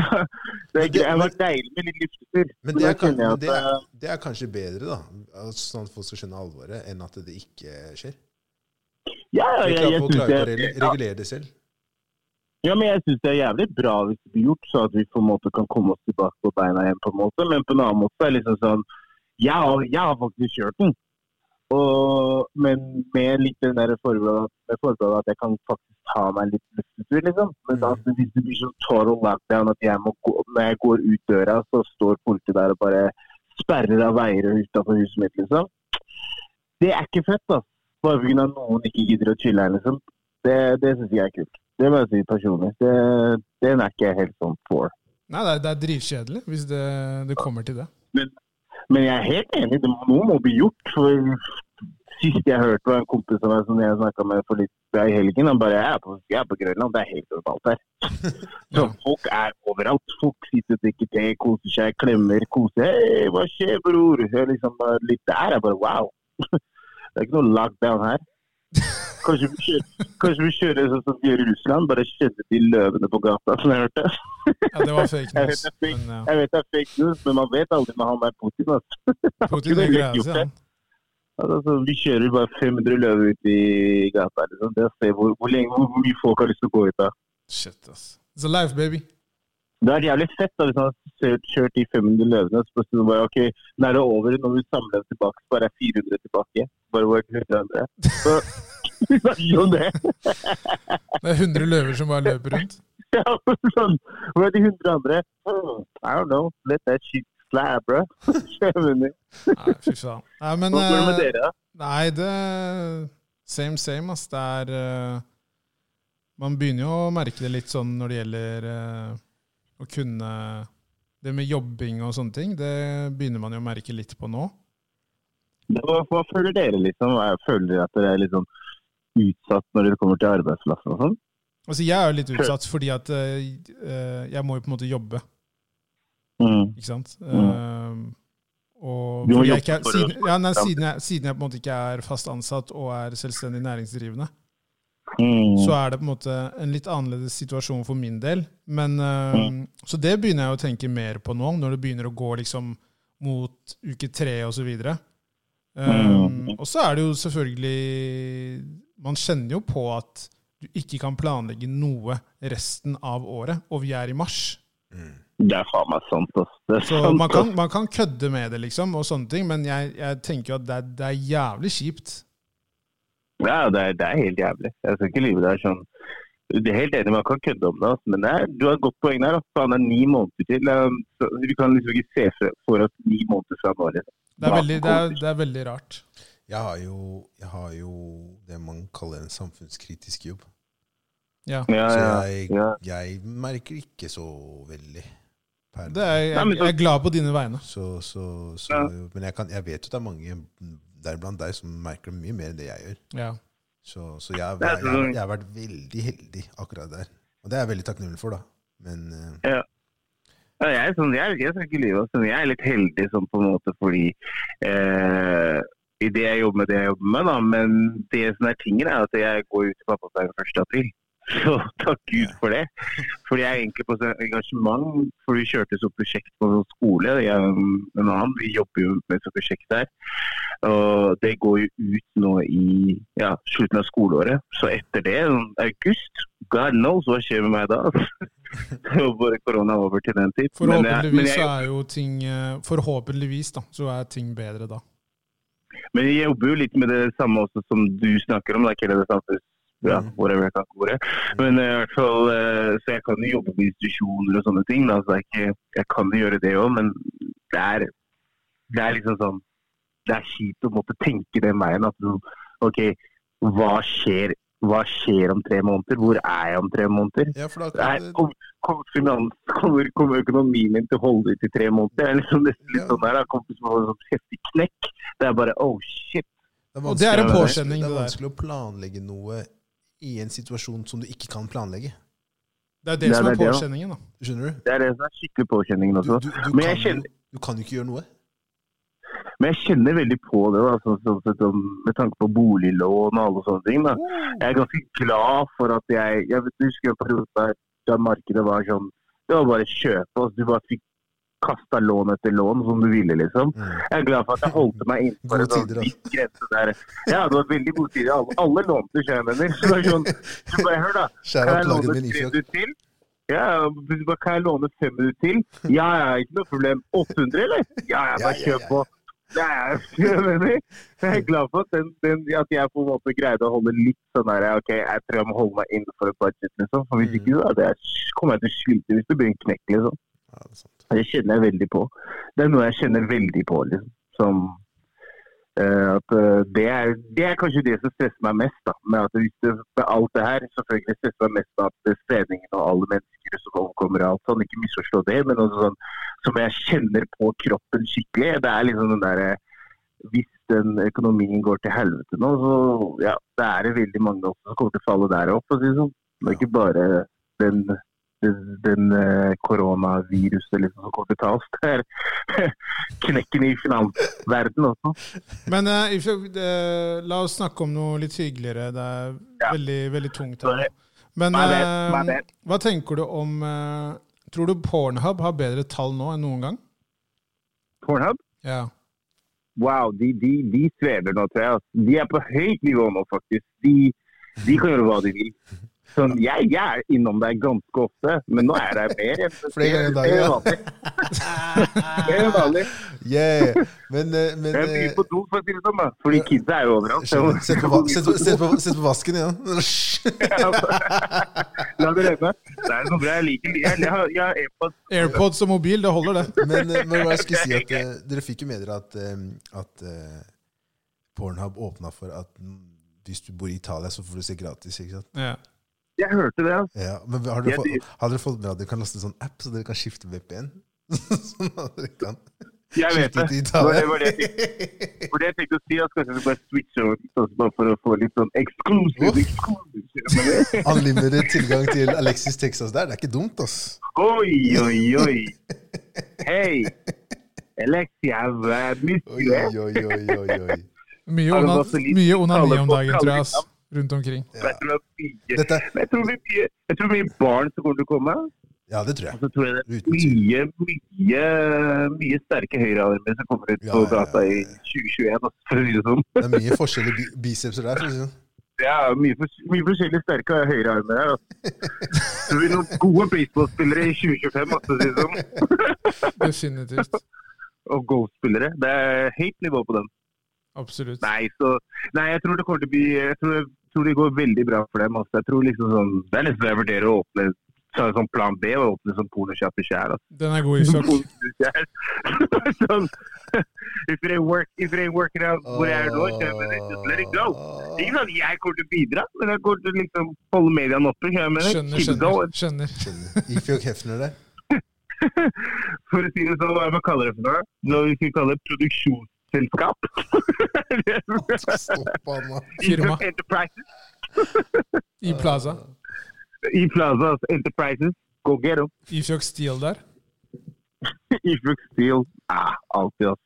S3: det, er greit. det har vært deilig med litt luftetur.
S2: Men det er,
S3: da
S2: kan-
S3: kjenner jeg
S2: men det,
S3: at,
S2: er,
S3: eh,
S2: det er kanskje bedre, da. Altså, Sånn at folk skal skjønne alvoret, enn at det ikke skjer. Vi
S3: Ja, ja, jeg,
S2: klarer
S3: jeg,
S2: folk
S3: synes
S2: klarer ikke å
S3: det
S2: reg-
S3: er- ja,
S2: regulere det selv.
S3: ja, men jeg syns det er jævlig bra hvis det blir gjort, så at vi på en måte kan komme oss tilbake på beina igjen, på en måte. Men på en annen måte er det liksom sånn Jeg har, jeg har faktisk kjørt den. Og, men med litt den der forbehold med forbehold at jeg kan faktisk ta meg litt luftetur, liksom. Men da, altså, hvis det blir sånn total lockdown at jeg må gå, når jeg går ut døra, så står politiet der og bare sperrer av veier utafor huset mitt, liksom. Det er ikke fett, da. Bare pga. noen ikke gidder å chille her, liksom. Det, det syns jeg er kult. Det må jeg si personlig. Det, den er ikke jeg helt sånn for.
S1: Nei, det er, det er dritkjedelig hvis det, det kommer til det.
S3: Men jeg er helt enig, det må, noe må bli gjort. For sist jeg hørte var en kompis av meg som jeg snakka med for litt ja, i helgen, han bare jeg er, på, 'Jeg er på Grønland, det er helt overalt her'. Så
S1: Ja.
S3: folk er overalt. Folk sitter og drikker te, koser seg, klemmer, koser 'Hei, hva skjer, bror?' Jeg er liksom bare litt der. Jeg bare wow. [laughs] Det er ikke noe lockdown her. Kanskje vi kjører, kanskje vi kjører sånn som vi gjør i Russland, bare kjenner de løvene på gata, som jeg hørte.
S1: Ja, det var fake
S3: [laughs] Jeg
S1: news.
S3: vet det er
S1: Men ja,
S3: Jeg vet det er fake news, men man vet aldri med han der Putin. Altså.
S1: Putin er greia si, han.
S3: Altså, vi kjører bare 500 løver ut i gata. Liksom. Det å se hvor, hvor, lenge, hvor, hvor mye folk har lyst til å gå ut av.
S1: Shit, ass. It's a life, baby.
S3: Det er jævlig fett da, hvis man har kjørt- kjørt de 500 løvene. Så plutselig bare, ok, nå er det over. Når vi samler dem tilbake, så bare er 400 tilbake. Bare hvor er 100 andre? Så, [laughs] vi snakker om det. [laughs]
S1: Det er 100 løver som bare løper rundt.
S3: Ja, sånn, hvor er de 100 andre? Hmm, I don't know. Let that shit slab, [laughs] bro. Skjønner.
S1: Nei, fy faen. Nei, men
S3: Hva går det med
S1: eh,
S3: dere, da?
S1: Nei, det Same, same, ass. Det er eh, Man begynner jo å merke det litt sånn når det gjelder eh, å kunne Det med jobbing og sånne ting, det begynner man jo å merke litt på nå.
S3: Hva, hva føler dere, liksom? Hva- Føler dere at dere er litt sånn utsatt når dere kommer til arbeidsplassen og sånn?
S1: Altså, jeg er jo litt utsatt fordi at eh, eh, jeg må jo på en måte jobbe,
S3: Mm.
S1: ikke sant? Eh, og
S3: Du må
S1: fordi jeg
S3: jobbe
S1: ikke er,
S3: for å-
S1: siden, ja, nei, siden, jeg, siden jeg på en måte ikke er fast ansatt og er selvstendig næringsdrivende, så
S3: Mm.
S1: er det på en måte en litt annerledes situasjon for min del. Men, eh,
S3: Mm.
S1: Så det begynner jeg å tenke mer på nå, når det begynner å gå liksom mot uke tre osv. Um,
S3: Mm.
S1: og så er det jo selvfølgelig Man kjenner jo på at du ikke kan planlegge noe resten av året, og vi er i mars.
S2: Mm.
S3: Det er faen meg sant, ass. Det er
S1: Så
S3: sant,
S1: man kan,
S3: ass.
S1: man kan kødde med det, liksom, og sånne ting, men jeg, jeg tenker jo at det er, det er jævlig kjipt.
S3: Ja, det er, det er helt jævlig. Jeg skal ikke lyve. Det er sånn Jeg er helt enig, man kan kødde om det, altså, men det er, du har et godt poeng der. Altså, faen, det er ni måneder til. Um, så vi kan liksom ikke se for- for oss ni måneder fra nå. Liksom.
S1: Det er veldig, det er, det er veldig rart.
S2: Jeg har, jo, jeg har jo det man kaller en samfunnskritisk jobb.
S1: Ja.
S3: Ja,
S2: Så
S3: ja,
S2: jeg,
S3: ja.
S2: jeg merker ikke så veldig per
S1: Det er,
S3: Nei,
S1: jeg,
S3: men så-
S1: jeg er glad på dine vegne.
S2: Så, så, så,
S3: Ja.
S2: Men jeg, kan, jeg vet jo det er mange, deriblant deg, som merker det mye mer enn det jeg gjør.
S1: Ja.
S2: Så, så jeg, har-
S3: Det er
S2: jeg, har-
S3: sånn-
S2: jeg har vært veldig heldig akkurat der. Og det er jeg veldig takknemlig for, da. Men eh,
S3: Ja, jeg, er sånn, jeg, jeg skal ikke lyve. Altså. Jeg er litt heldig sånn på en måte fordi eh, i det jeg jobber med, det jeg jobber med, da. Men det som er tingen, er at jeg går ut i pappaperm 1. april. [laughs] Så takk Gud for det. Fordi jeg er egentlig på sånn engasjement. For vi kjørte så prosjekt på en skole. Jeg, en annen, vi jobber jo med så prosjekt der. Og det går jo ut nå i ja, slutten av skoleåret. Så etter det, sånn august, god knows hva skjer med meg da. altså. [laughs] Så bare korona er over til den tid. Men jeg- men
S1: Forhåpentligvis
S3: jeg-
S1: eh, så er jo ting eh, Forhåpentligvis da, så er ting bedre da.
S3: Men jeg jobber jo litt med det samme også som du snakker om. Da, Kjell, det samfunns... Ja,
S2: Mm.
S3: whatever jeg kan ordet. Men eh, i hvert fall, eh, så jeg kan jo jobbe med institusjoner og sånne ting. Da, så jeg, ikke, jeg kan jo gjøre det òg, men det er, det er liksom sånn Det er kjipt å måtte tenke den veien. At sånn, OK, hva skjer, hva skjer om tre måneder? Hvor er jeg om tre måneder?
S2: ja, for da
S3: Nei,
S2: kan det,
S3: kom, kom, finans, kommer, kommer økonomien min til å holde ut i tre måneder? Det er liksom nesten litt
S2: Ja.
S3: sånn der, da. Kompisen min har en sånn heftig knekk. Det er bare oh shit.
S2: det er
S1: Og det er en
S2: vanskelig-
S1: påkjenning,
S2: Det
S1: det
S2: er
S1: der.
S2: vanskelig å planlegge noe i en situasjon som du ikke kan planlegge.
S1: Det er det
S3: Ja,
S1: som
S3: det
S1: er
S3: er det, da.
S1: påkjenningen, da.
S2: Skjønner du?
S3: Det er det som er skikkelig påkjenningen
S2: Du,
S3: også.
S2: du, du,
S3: Altså, Men jeg
S2: kan,
S3: kjenner-
S2: jo, du kan jo ikke gjøre noe.
S3: Men jeg kjenner veldig på det, da, sånn, sånn, sett om- med tanke på boliglån og alle sånne ting. Da. Jeg er ganske glad for at jeg Jeg vet, husker en periode der, da markedet var sånn Det var bare å kjøpe. Altså, du bare fikk kasta lån etter lån som du ville, liksom.
S2: Mm.
S3: Jeg er glad for at jeg holdt meg innenfor
S2: Gode
S3: en sånn
S2: tider, altså. da.
S3: viss grense der. Ja, det var veldig gode tider. Alle, alle lånte, skjønner jeg mener. Så det var sånn, så bare hør, da.
S2: Skjære
S3: Kan
S2: opp
S3: jeg
S2: laget
S3: låne
S2: med
S3: tre
S2: Linfjord.
S3: minutter til? Ja, ja, hvis du bare kan jeg låne fem minutter til? Ja, ja, ikke noe problem. 800, eller? Ja, ja, bare
S2: Ja, ja,
S3: kjør
S2: ja.
S3: på. Ja, ja, [laughs] jeg mener. Jeg er glad for at, den, den, at jeg på en måte greide å holde litt sånn der OK, jeg tror jeg må holde meg innenfor et budget, liksom. For hvis
S2: Mm.
S3: ikke, da det er, kommer jeg til å slite hvis det blir en knekk, liksom.
S2: Ja, det er
S3: [laughs]
S2: sant.
S3: Det kjenner jeg veldig på. Det er noe jeg kjenner veldig på, liksom. Som eh, at eh, det er, det er kanskje det som stresser meg mest. da, med at hvis det, med Alt det her selvfølgelig stresser meg mest med at det er spredningen og alle mennesker som omkommer og alt sånn, ikke misforstå det, men også sånn som jeg kjenner på kroppen skikkelig. Det er liksom den derre Hvis den økonomien går til helvete nå, så ja, det er det veldig mange også som kommer til å falle der opp, for å si det sånn. Det er ikke bare den den- den eh, koronaviruset liksom, som kommer til å ta oss. Det er [laughs] knekken i finansverdenen også.
S1: Men eh, if you- eh, la oss snakke om noe litt hyggeligere. Det er
S3: Ja.
S1: veldig, veldig tungt
S3: Sorry.
S1: her. Men
S3: Meg vel,
S1: eh,
S3: meg vel.
S1: hva tenker du om eh, Tror du Pornhub har bedre tall nå enn noen gang?
S3: Pornhub,
S1: Ja.
S3: wow, de, de, de svever nå, tror jeg. altså. De er på høyt nivå nå, faktisk. De, de kan gjøre hva de vil. Sånn, jeg, jeg er innom der ganske ofte, men nå er jeg mer. enn-
S2: Flere ganger i dag,
S3: Det er
S2: ja.
S3: vanlig. Det er
S2: [laughs]
S3: vanlig.
S2: Yeah. Men, eh, men
S3: Jeg er
S2: eh,
S3: mye på do, for å si det sånn. da. Fordi kidsa er jo overalt.
S2: skjønner du? Sett på, va-
S3: [laughs]
S2: sett på,
S3: Så-
S2: sett på, sett på vasken
S3: [laughs]
S2: igjen. [laughs]
S3: altså. La det renne. Det er så bra. Jeg liker det. Jeg, jeg, jeg er på
S1: AirPods og mobil, det holder, det.
S2: Men, eh, men hva jeg skulle si at eh, dere fikk jo med dere at, eh, at eh, Pornhub åpna for at mm, hvis du bor i Italia, så får du se gratis. ikke sant?
S1: Ja.
S3: Jeg hørte det, altså.
S2: Ja, men har dere,
S3: Ja, de-
S2: fått, har dere fått med at dere kan laste en sånn app, så dere kan skifte VPN? [laughs] sånn at dere kan
S3: Jeg vet
S2: skifte
S3: det.
S2: til
S3: Det var
S2: Italia?
S3: det, var det, jeg tenkte- for det jeg tenkte å si. at Kanskje du bare switcher over litt, altså, bare for å få litt sånn exclusive,
S2: Uff.
S3: exclusive.
S2: [laughs] Unlimited tilgang til Alexis Texas der. Det er ikke dumt, ass.
S3: Oi, oi, oi. Hei. Alexia, I miss
S2: Oi,
S3: you. eh?
S2: oi, oi, oi, oi.
S3: [laughs]
S1: Mye
S3: Har det
S1: onan-
S3: gått så litt?
S1: mye onani
S3: Alle
S1: om
S3: folk
S1: dagen,
S3: kaller
S1: tror jeg.
S3: det
S1: ass. Rundt omkring.
S2: Ja.
S3: Jeg tror det er mye-
S2: Dette,
S3: Men jeg tror det er mye, jeg tror det er mye barn som kommer til å komme.
S2: ja, det tror
S3: Og
S2: jeg.
S3: så tror jeg det er
S2: Uten tvil.
S3: mye, mye, mye sterke høyrearmer som kommer ut
S2: Ja,
S3: på
S2: ja, ja,
S3: gata i
S2: ja.
S3: 2021, altså, for å si det sånn.
S2: Det er mye forskjellige bi- bicepser der. for å si det sånn.
S3: Det er mye, fors- mye forskjellig sterke høyrearmer her. Altså. Så vi er noen gode baseballspillere i 2025, altså, si det sånn.
S1: Definitivt.
S3: og golfspillere. Det er høyt nivå på dem.
S1: Absolutt.
S3: Nei, så, nei, jeg tror det kommer til å bli jeg tror tror det går veldig bra for dem. Altså. Jeg tror liksom sånn, Det er nesten jeg vurderer å åpne så, sånn plan B, å åpne sånn som pornosjappe sjæl.
S1: Den er god, Isak.
S3: [laughs] sånn, if, it ain't work- if it ain't working out hvor jeg er nå, kjører jeg just let it go.
S2: Ah.
S3: Det er Ikke sånn at jeg kommer til å bidra, men jeg kommer til å liksom holde mediene oppe. kjører jeg med det.
S1: Skjønner,
S3: Keep it
S1: skjønner.
S3: going.
S1: skjønner.
S2: Skjønner. Gikk Fjokk Hefner det?
S3: [laughs] For å si det sånn, hva er det man kaller det for noe? Når vi skal kalle det [laughs] produksjonsselskap.
S2: Stopp han, da.
S1: Firma.
S3: Isak Enterprises.
S1: I Plaza.
S3: I Plaza Enterprises. Go get 'em. [laughs]
S1: Ifjok Steel der.
S3: Ifjok Steel. Ah, alltid, altså.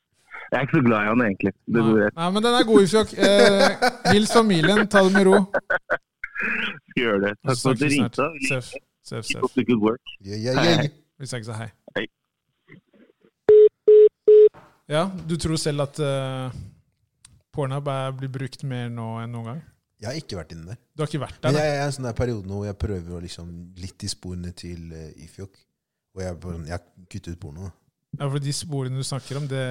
S3: Jeg er ikke så glad i han, egentlig. Det går
S1: Nei,
S3: rett.
S1: Nei, men den er god, Ifjok. Eh, hils familien, ta det med ro.
S3: Skal gjøre Altså, det. Takk for at du
S1: Snakkes
S3: ringte.
S1: snart. Seff, seff,
S3: Keep
S1: seff.
S3: up the good work.
S2: Yeah, yeah, yeah.
S1: Vi snakkes, hei.
S3: Hei.
S1: Ja, du tror selv at eh, pornhub er- blir brukt mer nå enn noen gang?
S2: Jeg har ikke vært inne der.
S1: Du har ikke vært der?
S2: Men
S1: da?
S2: jeg jeg er i en sånn der periode nå hvor jeg prøver å liksom litt i sporene til eh, Ifjok. Og jeg, er på sånn- jeg har kuttet ut porno. da.
S1: Ja, for de sporene du snakker om, det,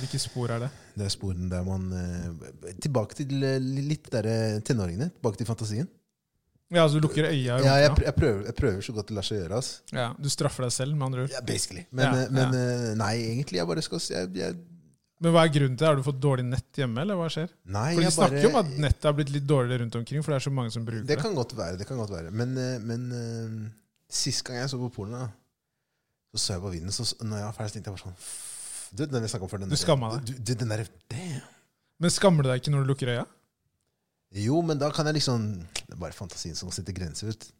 S1: hvilke spor er det?
S2: Det er sporene der man eh, Tilbake til eh, litt der eh, tenåringene. Tilbake til fantasien.
S1: Ja, altså du lukker øya i
S2: Ja, jeg,
S1: rumpa?
S2: pr- jeg, prøver, jeg prøver så godt det lar seg gjøre. ass.
S1: Ja, du straffer deg selv, med andre ord.
S2: Ja, basically. Men,
S1: Ja,
S2: eh, men eh, nei, egentlig. Jeg bare skal s- jeg, jeg,
S1: Men hva er grunnen til det? Har du fått dårlig nett hjemme, eller hva skjer?
S2: Nei,
S1: For de
S2: jeg
S1: snakker
S2: bare
S1: jo om at nettet er blitt litt dårligere rundt omkring, for det er så mange som bruker det.
S2: Det kan godt være. det kan godt være. Men, eh, men eh, sist gang jeg så på porno, da, så så jeg på vinden. Så, så- når jeg var ferdig, så tenkte jeg bare sånn f- Du, den vi snakket om før. Den
S1: Du
S2: der-
S1: skamma deg.
S2: Du, du, den der, damn.
S1: Men skammer du deg ikke når du lukker øya?
S2: Jo, men da kan jeg liksom Det er bare fantasien som setter grenser ut. Det høres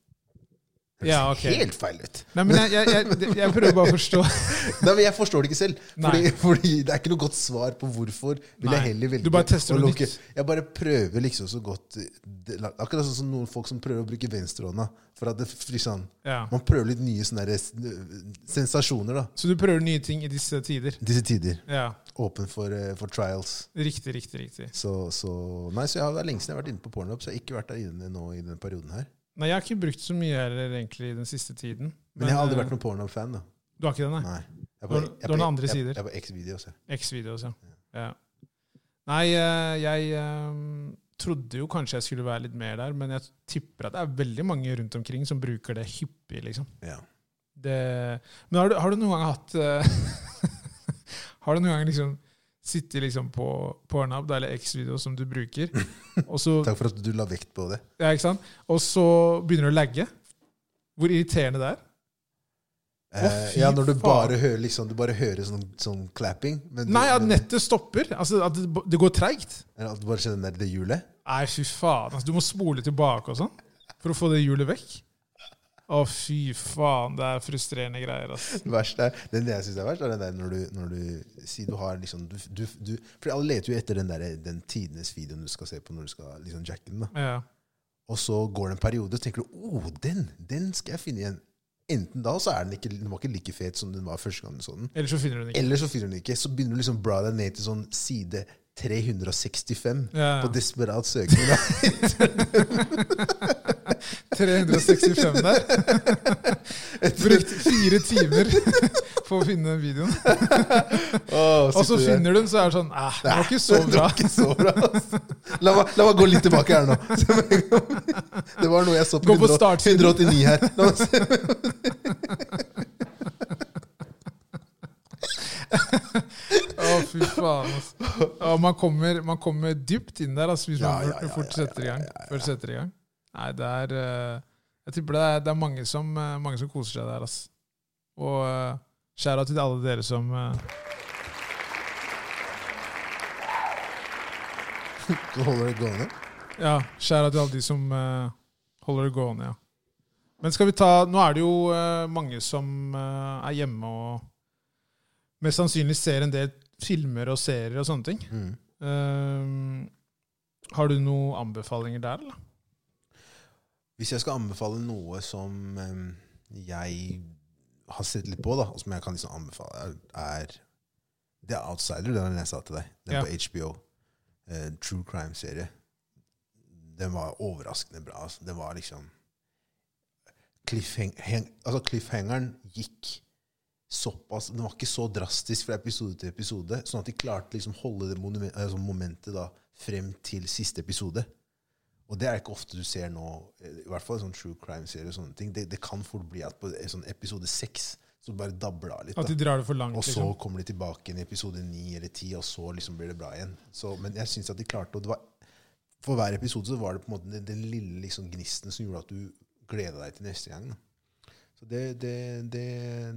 S1: Ja, ok.
S2: Helt feil ut.
S1: Nei, men jeg, jeg, jeg, det- jeg prøver bare å forstå. [laughs]
S2: Nei, men Jeg forstår det ikke selv. Fordi,
S1: Nei.
S2: fordi det er ikke noe godt svar på hvorfor. Vil
S1: Nei.
S2: jeg heller velge
S1: Du bare tester
S2: å
S1: noe
S2: lukke-
S1: nytt.
S2: Jeg bare prøver liksom så godt det- Akkurat sånn som noen folk som prøver å bruke venstrehånda. For at det liksom,
S1: Ja.
S2: Man prøver litt nye sånne der, eh, sensasjoner da
S1: Så du prøver nye ting i disse tider.
S2: disse tider.
S1: Ja,
S2: Åpen for, eh, for trials.
S1: riktig, riktig, riktig.
S2: Så, så, nei, så jeg har, Det er lenge siden jeg har vært inne på Pornhub, så jeg har ikke vært der inne nå i den perioden her.
S1: Nei, jeg har ikke brukt så mye heller egentlig den siste tiden.
S2: Men jeg har aldri
S1: eh,
S2: vært noen Pornhub-fan.
S1: [laughs]
S2: da
S1: Du har ikke det, nei?
S2: Nei. Jeg
S1: Du har- du har noen andre
S2: jeg,
S1: sider.
S2: Jeg, altså. jeg er på X-videos. jeg.
S1: X-videos, ja. ja. Nei, eh, jeg eh, trodde jo kanskje jeg skulle være litt mer der, men jeg tipper at det er veldig mange rundt omkring som bruker det hyppig, liksom.
S2: Ja.
S1: Det, men har du, har du noen gang hatt eh, [laughs] Har du noen gang liksom sittet liksom på Pornhub da, eller X-video som du bruker, og så,
S2: Takk for at du la vekt på det.
S1: ja, ikke sant? Og så begynner det å lagge? Hvor irriterende det er?
S2: Eh,
S1: fy
S2: ja, når du
S1: faen.
S2: bare hører liksom, du bare hører sånn, sånn clapping. men du,
S1: Nei, at
S2: men-
S1: nettet stopper. Altså, at det, det går treigt.
S2: eller At du bare kjenner det hjulet.
S1: Nei, fy faen. Altså, du må spole tilbake og sånn for å få det hjulet vekk. Å, fy faen. Det er frustrerende greier, ass.
S2: Det verste er, den jeg syns er verst, er den der når du, når du sier du har liksom du, du, du, For alle leter jo etter den, der, den tidenes videoen du skal se på når du skal liksom jacke den. da.
S1: Ja.
S2: Og så går det en periode, og så tenker du oh, den, den skal jeg finne igjen. Enten da så er den ikke, den var ikke like fet som den var første gang du så den.
S1: Ellers så finner
S2: [laughs]
S1: du den ikke.
S2: Eller så finner du den ikke. Så begynner du liksom bla deg ned til sånn side 365
S1: Ja.
S2: på desperat søking.
S1: [laughs]
S2: da.
S1: 365 der. Brukt fire timer [laughs] på å finne den videoen.
S2: Å,
S1: Og så
S2: sitter du der.
S1: finner du den, så er det sånn Æh, det var ikke så
S2: [laughs] Det
S1: bra.
S2: var ikke så bra, ass. La meg, la meg gå litt tilbake her nå. [laughs] Det var noe jeg så på,
S1: Gå på startsiden.
S2: 189 her. La meg se.
S1: Å, fy faen. Altså. Å, man, kommer, man kommer dypt inn der altså, hvis
S2: Ja,
S1: man
S2: ja, ja,
S1: fort- fort
S2: ja, ja,
S1: setter i gang. Fort setter i gang. Nei, det er eh, Jeg tipper det er, det er mange, som, eh, mange som koser seg der, ass. Og uh, skjæra til alle dere som eh,
S2: Så holder det gående.
S1: Ja, skjæra til alle de som eh, holder det gående, ja. Men skal vi ta Nå er det jo eh, mange som eh, er hjemme og mest sannsynlig ser en del filmer og serier og sånne ting.
S2: Mm.
S1: Eh, har du noen anbefalinger der, eller?
S2: Hvis jeg skal anbefale noe som em, jeg har sett litt på, da, og som jeg kan liksom anbefale, er er- Det er Outsider, den jeg sa til deg. Den
S1: Ja.
S2: på HBO. Eh, true crime-serie. Den var overraskende bra. Altså. Den var liksom cliffhang, hang, altså Cliffhangeren gikk såpass Den var ikke så drastisk fra episode til episode, eh, sånn at de klarte liksom holde det monumen- altså momentet da frem til siste episode. Og det er ikke ofte du ser nå, eh, i hvert fall i sånn true crime-serier og sånne ting. Det, det kan fort bli at på eh, sånn episode seks så bare dabler det av litt.
S1: At
S2: da.
S1: de drar det for langt.
S2: Og så
S1: Liksom.
S2: kommer de tilbake igjen i episode 9 eller 10, og så liksom blir det bra igjen. Så, men jeg syns at de klarte og det. Var, for hver episode så var det på en måte den, den lille liksom gnisten som gjorde at du gleda deg til neste gang. Da. Så det, det, det,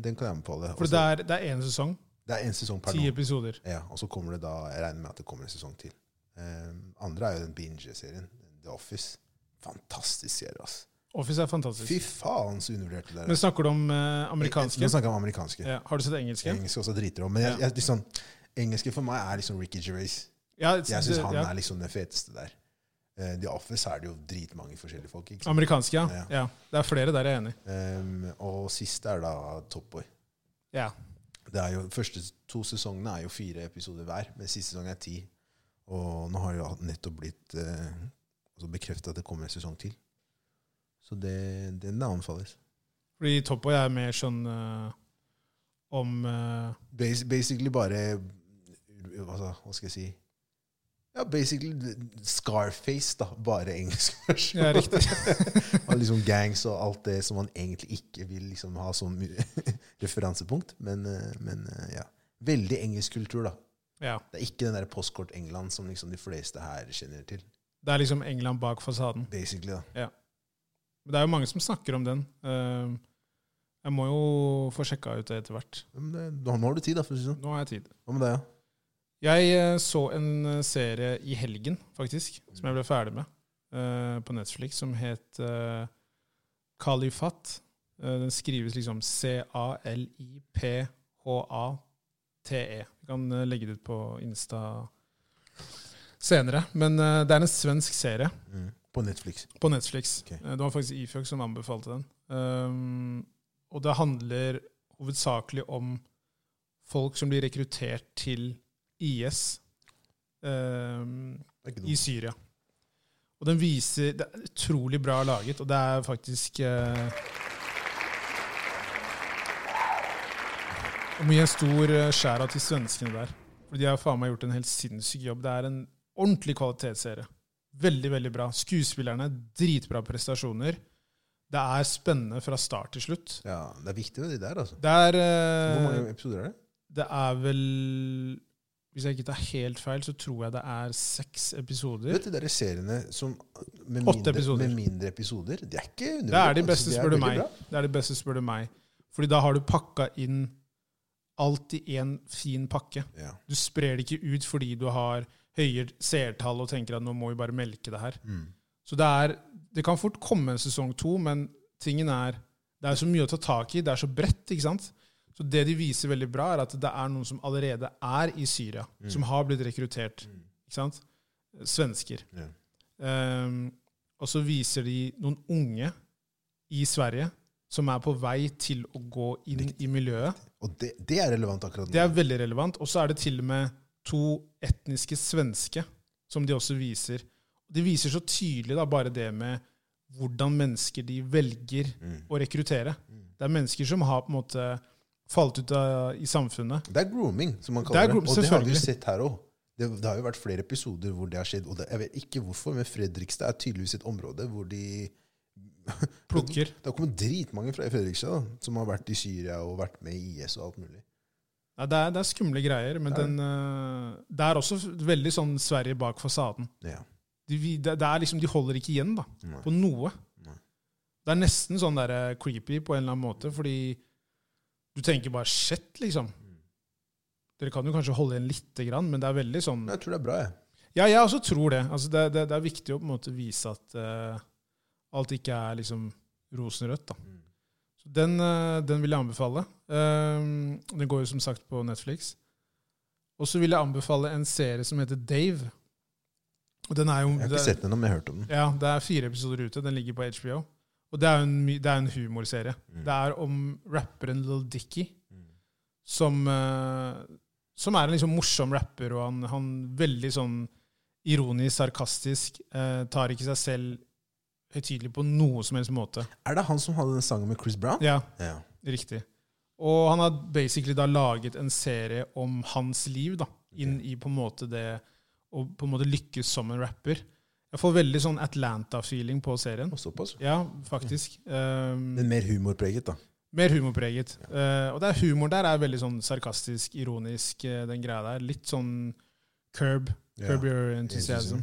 S2: den kan jeg anbefale.
S1: For
S2: Også-
S1: det er, det er én sesong,
S2: det er én sesong per
S1: ti
S2: nå.
S1: episoder.
S2: Ja, og så kommer det da Jeg regner med at det kommer en sesong til. Um, andre er jo den binge-serien. The Office. Fantastisk serie, altså.
S1: Office er fantastisk.
S2: Fy faen, så undervurdert det der
S1: Men snakker du om eh,
S2: Nå
S1: amerikanske?
S2: snakker jeg om amerikanske.
S1: Ja. Har du sett engelske?
S2: Engelske også driter om. Men jeg,
S1: Ja.
S2: jeg, liksom, engelske for meg er liksom Ricky Gervais.
S1: Ja,
S2: Jeg syns
S1: Altså, det-
S2: han
S1: ja.
S2: er liksom den feteste der. Eh, The Office er det jo dritmange forskjellige folk. Ikke? sant?
S1: Amerikanske, ja.
S2: Ja.
S1: ja. Det er flere der jeg er enig.
S2: Um, og siste er da Top Boy.
S1: Ja.
S2: Det er jo, første to sesongene er jo fire episoder hver, men siste sesong er ti. Og nå har jo nettopp blitt eh, altså bekreftet at det kommer en sesong til. Så det, den anbefales.
S1: Fordi Top Boy er mer sånn eh, om eh,
S2: Bas basically bare altså, Hva skal jeg si? Ja, basically Scarface, da. Bare engelsk [laughs] versjon.
S1: Ja, riktig.
S2: og liksom gangs og alt det som man egentlig ikke vil liksom ha som [laughs] referansepunkt. Men, eh, men eh, ja. Veldig engelsk kultur, da.
S1: Ja.
S2: Det er ikke den der postkort England som liksom de fleste her kjenner til.
S1: Det er liksom England bak fasaden.
S2: Basically, da.
S1: Men det er jo mange som snakker om den. Eh, jeg må jo få sjekka ut det etter hvert.
S2: Men det, nå nå har du tid, da, for å si det sånn.
S1: Nå har jeg tid.
S2: Hva med deg, ja?
S1: Jeg eh, så en eh, serie i helgen, faktisk, som jeg ble ferdig med eh, på Netflix, som het eh, Kalifat. Eh, den skrives liksom C-A-L-I-P-H-A-T-E. Vi kan eh, legge det ut på Insta senere. Men eh, det er en svensk serie
S2: Mm. På Netflix.
S1: på Netflix.
S2: Ok.
S1: Eh, det var faktisk Ifjøk som anbefalte den. Um, og det handler hovedsakelig om folk som blir rekruttert til IS. Um,
S2: Det er ikke
S1: i
S2: dumt.
S1: Syria. Og den viser Det er utrolig bra laget, og det er faktisk eh, Og mye stor eh, skjæra til svenskene der. For de har faen meg gjort en helt sinnssyk jobb. Det er en ordentlig kvalitetsserie. Veldig, veldig bra. Skuespillerne, dritbra prestasjoner. Det er spennende fra start til slutt.
S2: Ja, det er viktig med de der, altså.
S1: Det er eh,
S2: Hvor mange episoder er det?
S1: det er vel Hvis jeg ikke tar helt feil, så tror jeg det er seks episoder.
S2: Vet du, de der seriene som med
S1: Åtte
S2: mindre,
S1: episoder.
S2: med mindre episoder, de er
S1: Det
S2: ikke
S1: er de
S2: undervurdert, altså.
S1: beste,
S2: De
S1: spør du
S2: veldig
S1: meg.
S2: bra.
S1: Det er de beste, spør du meg. Fordi da har du pakka inn alt i én fin pakke.
S2: Ja.
S1: Du sprer det ikke ut fordi du har høye seertall og tenker at nå må vi bare melke det her.
S2: Mm.
S1: Så det er Det kan fort komme en sesong to, men tingen er Det er så mye å ta tak i. Det er så bredt, ikke sant? Så det de viser veldig bra, er at det er noen som allerede er i Syria, som har blitt rekruttert. Ikke sant? Svensker.
S2: Ja.
S1: Ehm, og så viser de noen unge i Sverige som er på vei til å gå inn i miljøet.
S2: Og det, det er relevant akkurat nå.
S1: Det er veldig relevant. Og så er det til og med to etniske svenske som de også viser. De viser så tydelig da bare det med hvordan mennesker de velger
S2: Mm.
S1: å rekruttere. Det er mennesker som har på en måte falt ut av, i samfunnet.
S2: Det er grooming, som man
S1: Det
S2: kaller
S1: er
S2: det.
S1: groom-
S2: Og det har vi jo
S1: selvfølgelig.
S2: sett her òg. Det, det har jo vært flere episoder hvor det har skjedd. Og det, jeg vet ikke hvorfor, men Fredrikstad er tydeligvis et område hvor de
S1: Plukker.
S2: Det har kommet dritmange fra Fredrikstad da, som har vært i Syria og vært med i IS og alt mulig.
S1: Nei, det, er, det er skumle greier, men
S2: Det er det.
S1: den, eh, det er også veldig sånn Sverige bak fasaden.
S2: Ja.
S1: De, vi- det, det er liksom, de holder ikke igjen da,
S2: Nei.
S1: på noe.
S2: Nei.
S1: Det er nesten sånn der eh, creepy på en eller annen måte, fordi du tenker bare shit, liksom.
S2: Mm.
S1: Dere kan jo kanskje holde igjen lite grann, men det er veldig sånn
S2: Men jeg tror det er bra, jeg.
S1: Ja, jeg også tror det. Altså, det, det, det er viktig å på en måte vise at eh, alt ikke er liksom rosenrødt, da.
S2: Mm.
S1: Så den, eh, den vil jeg anbefale. Ehm, den går jo som sagt på Netflix. Og så vil jeg anbefale en serie som heter Dave. Og den er jo
S2: Jeg har
S1: det-
S2: ikke sett den ennå, men jeg har hørt om den.
S1: ja, det er fire episoder ute. Den ligger på HBO. Og det er jo en, my- det er en humorserie. Det er om rapperen Lil Dicky, som, eh, som er en liksom morsom rapper, og han, han veldig sånn ironisk, sarkastisk, eh, tar ikke seg selv høytidelig på noe som helst måte.
S2: Er det han som hadde den sangen med Chris Brown?
S1: Ja,
S2: Ja.
S1: Riktig. Og han har basically da laget en serie om hans liv, da, inn i på en måte det å på en måte lykkes som en rapper. Jeg får veldig sånn Atlanta-feeling på serien.
S2: Og såpass.
S1: Ja, faktisk.
S2: Mm.
S1: Um,
S2: Men mer humorpreget, da.
S1: mer humorpreget. Eh, og det er humor der er veldig sånn sarkastisk, ironisk, eh, den greia der. Litt sånn curb.
S2: Ja,
S1: Curb your enthusiasm.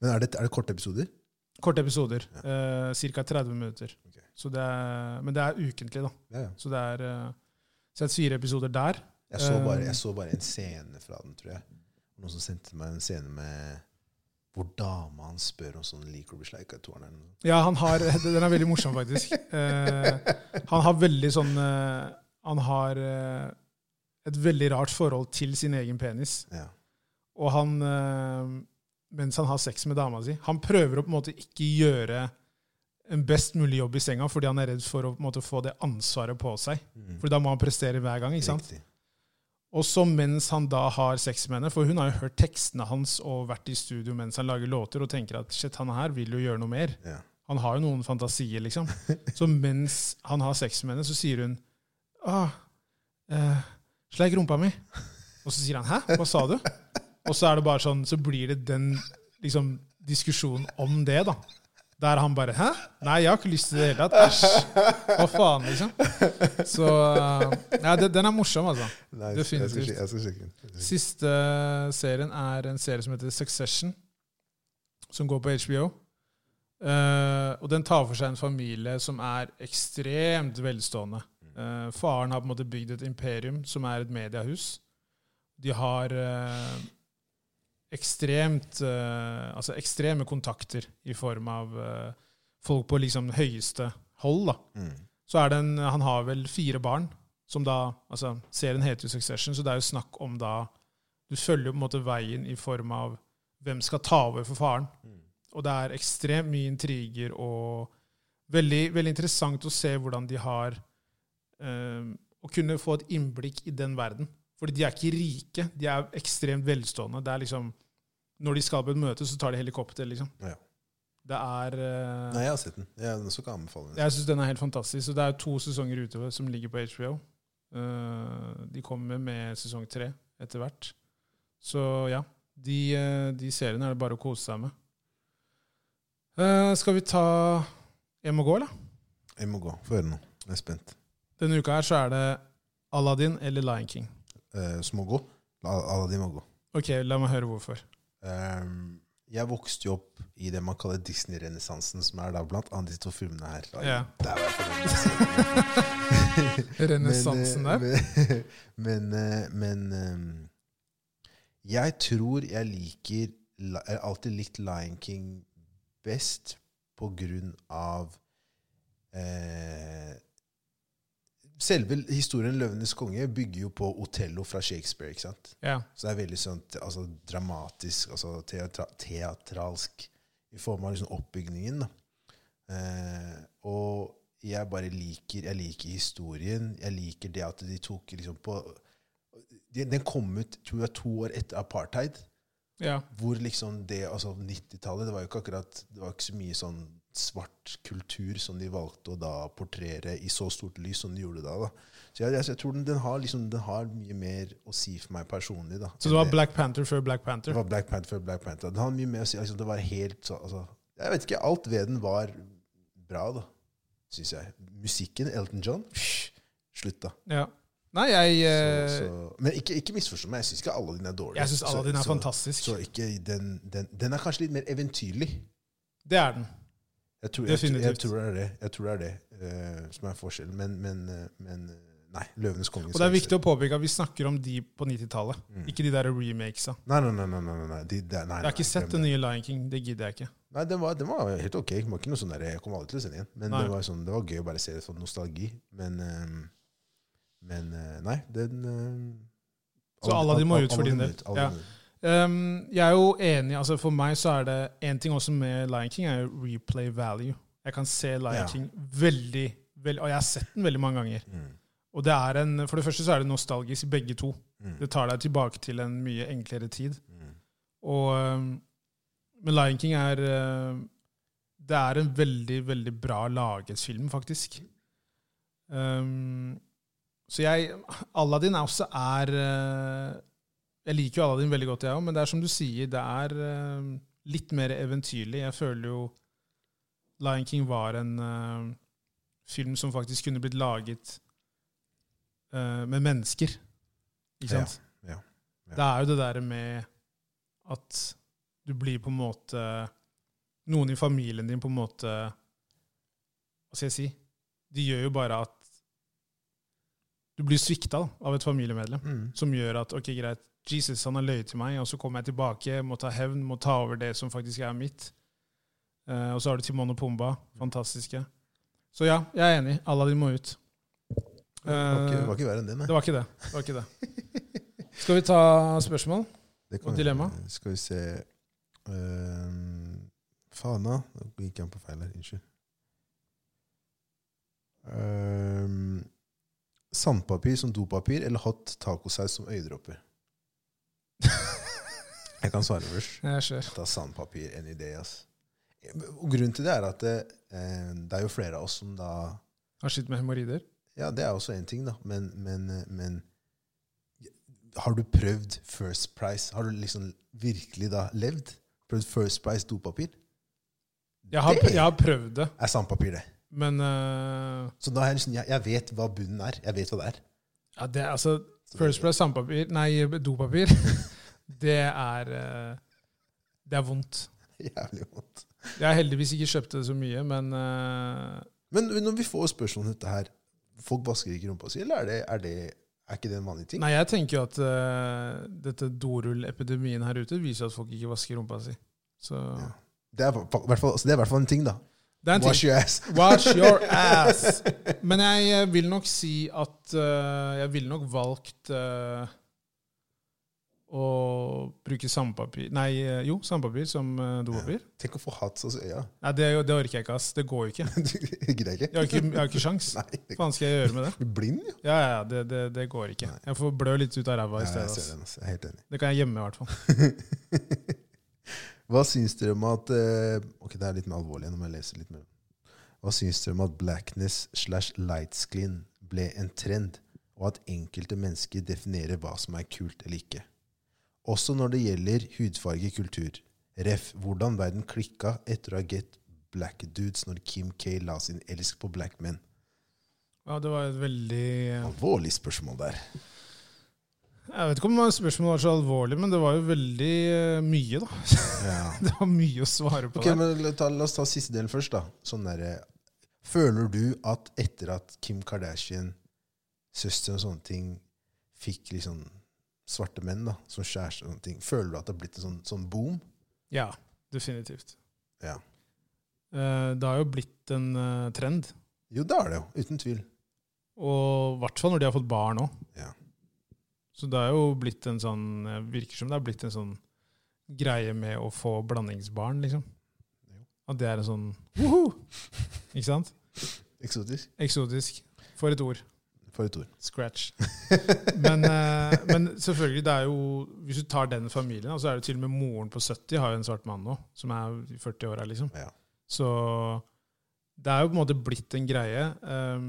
S2: Men er det, er det korte episoder?
S1: Korte episoder. Ja. Ca. 30 minutter.
S2: Ok.
S1: Så det er, men det er ukentlig, da.
S2: Ja, ja.
S1: Så det er eh, sett fire episoder der.
S2: Jeg så,
S1: Eh,
S2: bare, jeg så bare en scene fra den, tror jeg. Noen som sendte meg en scene med hvor dama hans spør om sånn liker du slik av toeren eller noe.
S1: Ja, han har, [laughs] den er veldig morsom, faktisk. Eh, han har veldig sånn eh, Han har eh, et veldig rart forhold til sin egen penis.
S2: Ja.
S1: Og han eh, Mens han har sex med dama si Han prøver å på en måte ikke gjøre en best mulig jobb i senga fordi han er redd for å på en måte få det ansvaret på seg. Mm. For da må han prestere hver gang. ikke sant?
S2: Mm. Riktig.
S1: Og så mens han da har sex med henne, for hun har jo hørt tekstene hans og vært i studio mens han lager låter og tenker at shit, han her vil jo gjøre noe mer.
S2: Ja.
S1: Han har jo noen fantasier, liksom. Så mens han har sex med henne, så sier hun ah, eh, sleik rumpa mi. Og så sier han hæ, hva sa du? Og så er det bare sånn, så blir det den liksom, diskusjonen om det, da. Der han bare hæ? Nei, jeg har ikke lyst til det i det hele tatt. Æsj. Hva faen, liksom. Så eh, ja, det, den er morsom, altså.
S2: Nei,
S1: Definitivt.
S2: Jeg skal, sj- jeg skal sjekke den.
S1: Siste serien er en serie som heter Succession, som går på HBO. Eh, og den tar for seg en familie som er ekstremt velstående. Eh, faren har på en måte bygd et imperium, som er et mediehus. De har eh, ekstremt eh, Altså ekstreme kontakter i form av eh, folk på liksom høyeste hold, da
S2: Mm.
S1: så er det en Han har vel fire barn, som da altså Serien heter jo Succession, så det er jo snakk om da Du følger jo på en måte veien i form av hvem skal ta over for faren. Og det er ekstremt mye intriger og veldig, veldig interessant å se hvordan de har eh, Å kunne få et innblikk i den verden. Fordi de er ikke rike, de er ekstremt velstående. Det er liksom Når de skal på et møte, så tar de helikopter, liksom.
S2: Ja.
S1: Det er eh,
S2: Nei, jeg har sett den. Jeg, den skal ikke anbefale den.
S1: jeg syns den er helt fantastisk. Så det er to sesonger utover som ligger på HBO. Eh, de kommer med sesong tre etter hvert. Så ja, de, eh, de seriene er det bare å kose seg med. Eh, skal vi ta Jeg må gå, eller?
S2: Jeg må gå. Få høre nå. Jeg er spent.
S1: Denne uka her så er det Aladdin eller Lion King.
S2: Eh, så må gå. Al- Alle de må gå.
S1: Ok, la meg høre hvorfor.
S2: Ehm, jeg vokste jo opp i det man kaller Disney-renessansen, som er da blant annet de to filmene her.
S1: Ja.
S2: Der var jeg [laughs] fornøyd.
S1: Renessansen der.
S2: Men, eh, men, eh, [laughs] men ehm, jeg tror jeg liker Li- Jeg har alltid likt Lion King best på grunn av eh, Selve historien 'Løvenes konge' bygger jo på Otello fra Shakespeare. ikke sant?
S1: Ja.
S2: Så det er veldig sånn te- altså, dramatisk, altså teatra teatralsk, i form av liksom oppbygningen. Da. Eh, og jeg bare liker, jeg liker historien. Jeg liker det at de tok liksom på de- Den kom ut tror jeg, to år etter apartheid,
S1: ja.
S2: hvor liksom det altså 90-tallet Det var jo ikke akkurat det var ikke så mye sånn svart kultur som de valgte å da portrere i så stort lys som de gjorde da. da. Så jeg, jeg, jeg tror den, den, har liksom, den har mye mer å si for meg personlig. da.
S1: Så det var
S2: enn
S1: Black Panther før Black
S2: det
S1: Panther?
S2: var Black Panther, Black Panther. Den hadde mye med å si. Liksom, det var helt så, altså, Jeg vet ikke. Alt ved den var bra, da. Syns jeg. Musikken, Elton John psh, Slutt, da.
S1: Ja. Nei, jeg eh,
S2: Så, så, men ikke, ikke misforstå meg. Jeg syns ikke alle dine er dårlige.
S1: Jeg syns Aladdin er
S2: så,
S1: fantastisk.
S2: Så ikke den, den, den er kanskje litt mer eventyrlig.
S1: Det er den.
S2: Jeg tror, jeg, tror- jeg
S1: Definitivt.
S2: tror det er det, jeg tror det, er det eh, som er forskjellen. Men, men, eh, men eh, Nei. 'Løvenes konge'.
S1: Og det er viktig å påpeke at vi snakker om de på 90-tallet,
S2: Mm.
S1: ikke de der remakesa.
S2: Nei, nei, nei. nei, nei, nei, nei, de, de, nei,
S1: Jeg har ikke
S2: nei,
S1: sett
S2: glem
S1: den nye Lion King. Det gidder jeg ikke.
S2: Nei, den var, den var helt ok. Den var ikke noe sånn der, jeg kommer aldri til å se den igjen. Men
S1: Nei.
S2: det var, sånn, det var gøy å bare se det for nostalgi. Men, ehm, men eh, nei, den ehm,
S1: Så Aladdin må
S2: Al-
S1: ut for din
S2: Aladdin
S1: del.
S2: ut, Aladdin
S1: Ja.
S2: ut.
S1: Ehm, jeg er jo enig. altså For meg så er det én ting også med Lion King, er jo replay value. Jeg kan se Lion
S2: Ja.
S1: King veldig, veldig Og jeg har sett den veldig mange ganger.
S2: Mm,
S1: Og det er en, For det første så er det nostalgisk, begge to.
S2: mm,
S1: Det tar deg tilbake til en mye enklere tid.
S2: mm.
S1: Og ehm, Men Lion King er ehm, Det er en veldig, veldig bra laget film, faktisk. Ehm, så jeg Aladdin er også uh, er eh, Jeg liker jo Aladdin veldig godt, jeg òg, men det er som du sier, det er eh, litt mer eventyrlig. Jeg føler jo Lion King var en eh, film som faktisk kunne blitt laget eh, med mennesker. Ikke sant?
S2: ja, ja.
S1: Det er jo det der med at du blir på en måte Noen i familien din på en måte Hva skal jeg si? De gjør jo bare at du blir svikta da, av et familiemedlem
S2: Mm.
S1: som gjør at ok, greit, Jesus han har løyet til meg, og så kommer jeg tilbake, må ta hevn, må ta over det som faktisk er mitt. Eh, og så har du Timon og Pumba. Fantastiske. Så ja, jeg er enig. Aladdin må ut. Eh,
S2: Det var ikke, det var ikke verre enn det, nei.
S1: det var ikke det. det, var ikke det. Skal vi ta
S2: [laughs]
S1: spørsmål?
S2: Det
S1: Og dilemma?
S2: Skal vi se Ehm, Fana Nå gikk jeg på feil her. Unnskyld. Ehm, sandpapir som dopapir eller hot tacosaus som øyedråper? Jeg kan svare først.
S1: Jeg ser.
S2: Ta sandpapir any day, ass. Og grunnen til det er at det, eh, det er jo flere av oss som da
S1: Har slitt med hemoroider.
S2: ja, det er også en ting, da. Men, men, men har du prøvd First Price? Har du liksom virkelig da levd? Prøvd First Price dopapir?
S1: Jeg har,
S2: Det-
S1: jeg har prøvd det,
S2: Er sandpapir, det.
S1: men eh,
S2: Så da er jeg, liksom, jeg, jeg vet hva bunnen er. Jeg vet hva det er. [laughs]
S1: ja, det er altså First Price sandpapir Nei, dopapir. [laughs] Det er eh, Det er vondt.
S2: Jævlig vondt.
S1: Jeg har heldigvis ikke kjøpt det så mye, men eh,
S2: Men når vi får spørsmål om dette her, folk vasker ikke rumpa si, eller er det, er det er ikke det en vanlig ting?
S1: Nei, jeg tenker jo at eh, dette dorullepidemien her ute viser at folk ikke vasker rumpa si. Så
S2: Det er, fa- i hvert fall, altså, det er i hvert fall en ting, da.
S1: det er en ting.
S2: Wash your ass.
S1: [laughs] Wash
S2: [laughs]
S1: your ass! Men jeg eh, vil nok si at eh, jeg ville nok valgt eh, å bruke sandpapir Nei, eh, jo, sandpapir som eh, dopapir.
S2: Tenk å få hats altså, øya.
S1: Nei, det, det orker jeg ikke, ass. Det går jo ikke.
S2: [laughs] Du greier ikke.
S1: Jeg har ikke, jeg har
S2: [laughs]
S1: ikke sjans.
S2: Nei, det-
S1: Hva faen skal jeg gjøre med det?
S2: du blir blind, jo.
S1: Ja, ja, det, det, det går ikke. Jeg får blø litt ut av ræva i
S2: Ja, jeg
S1: stedet.
S2: ser
S1: ass.
S2: den, altså. Jeg er helt enig.
S1: Det kan jeg gjemme, i hvert fall.
S2: Hva syns dere om at eh, Ok, det er litt mer alvorlig enn om jeg leser litt mer. Hva syns dere om at blackness slash light skin ble en trend, og at enkelte mennesker definerer hva som er kult eller ikke? Også når det gjelder hudfarge i kultur. Ref. Hvordan verden klikka etter å ha get black dudes når Kim K la sin elsk på black men.
S1: Ja, det var et veldig
S2: Alvorlig spørsmål der.
S1: Jeg vet ikke om spørsmålet var så alvorlig, men det var jo veldig eh, mye, da. [laughs]
S2: Ja.
S1: Det var mye å svare på.
S2: Ok,
S1: der.
S2: men la, ta, la oss ta siste delen først, da. Sånn derre Føler du at etter at Kim Kardashian, søsteren og sånne ting, fikk liksom svarte menn da, som kjæreste og sånne ting, føler du at det har blitt en sånn, sånn boom?
S1: Ja, definitivt.
S2: Ja.
S1: Eh, Det har jo blitt en eh, trend,
S2: Jo, det er det jo. Uten tvil.
S1: og i hvert fall når de har fått barn òg.
S2: Ja.
S1: Så det er jo blitt en sånn eh, Virker som det har blitt en sånn greie med å få blandingsbarn, liksom. At det er en sånn woho! Ikke sant?
S2: Eksotisk.
S1: Eksotisk. For et ord.
S2: For et ord.
S1: Scratch. Men, eh, men selvfølgelig, det er jo Hvis du tar den familien, da, så er det til og med moren på 70 har jo en svart mann nå, som er i 40-åra, liksom.
S2: Ja.
S1: Så det er jo på en måte blitt en greie. ehm,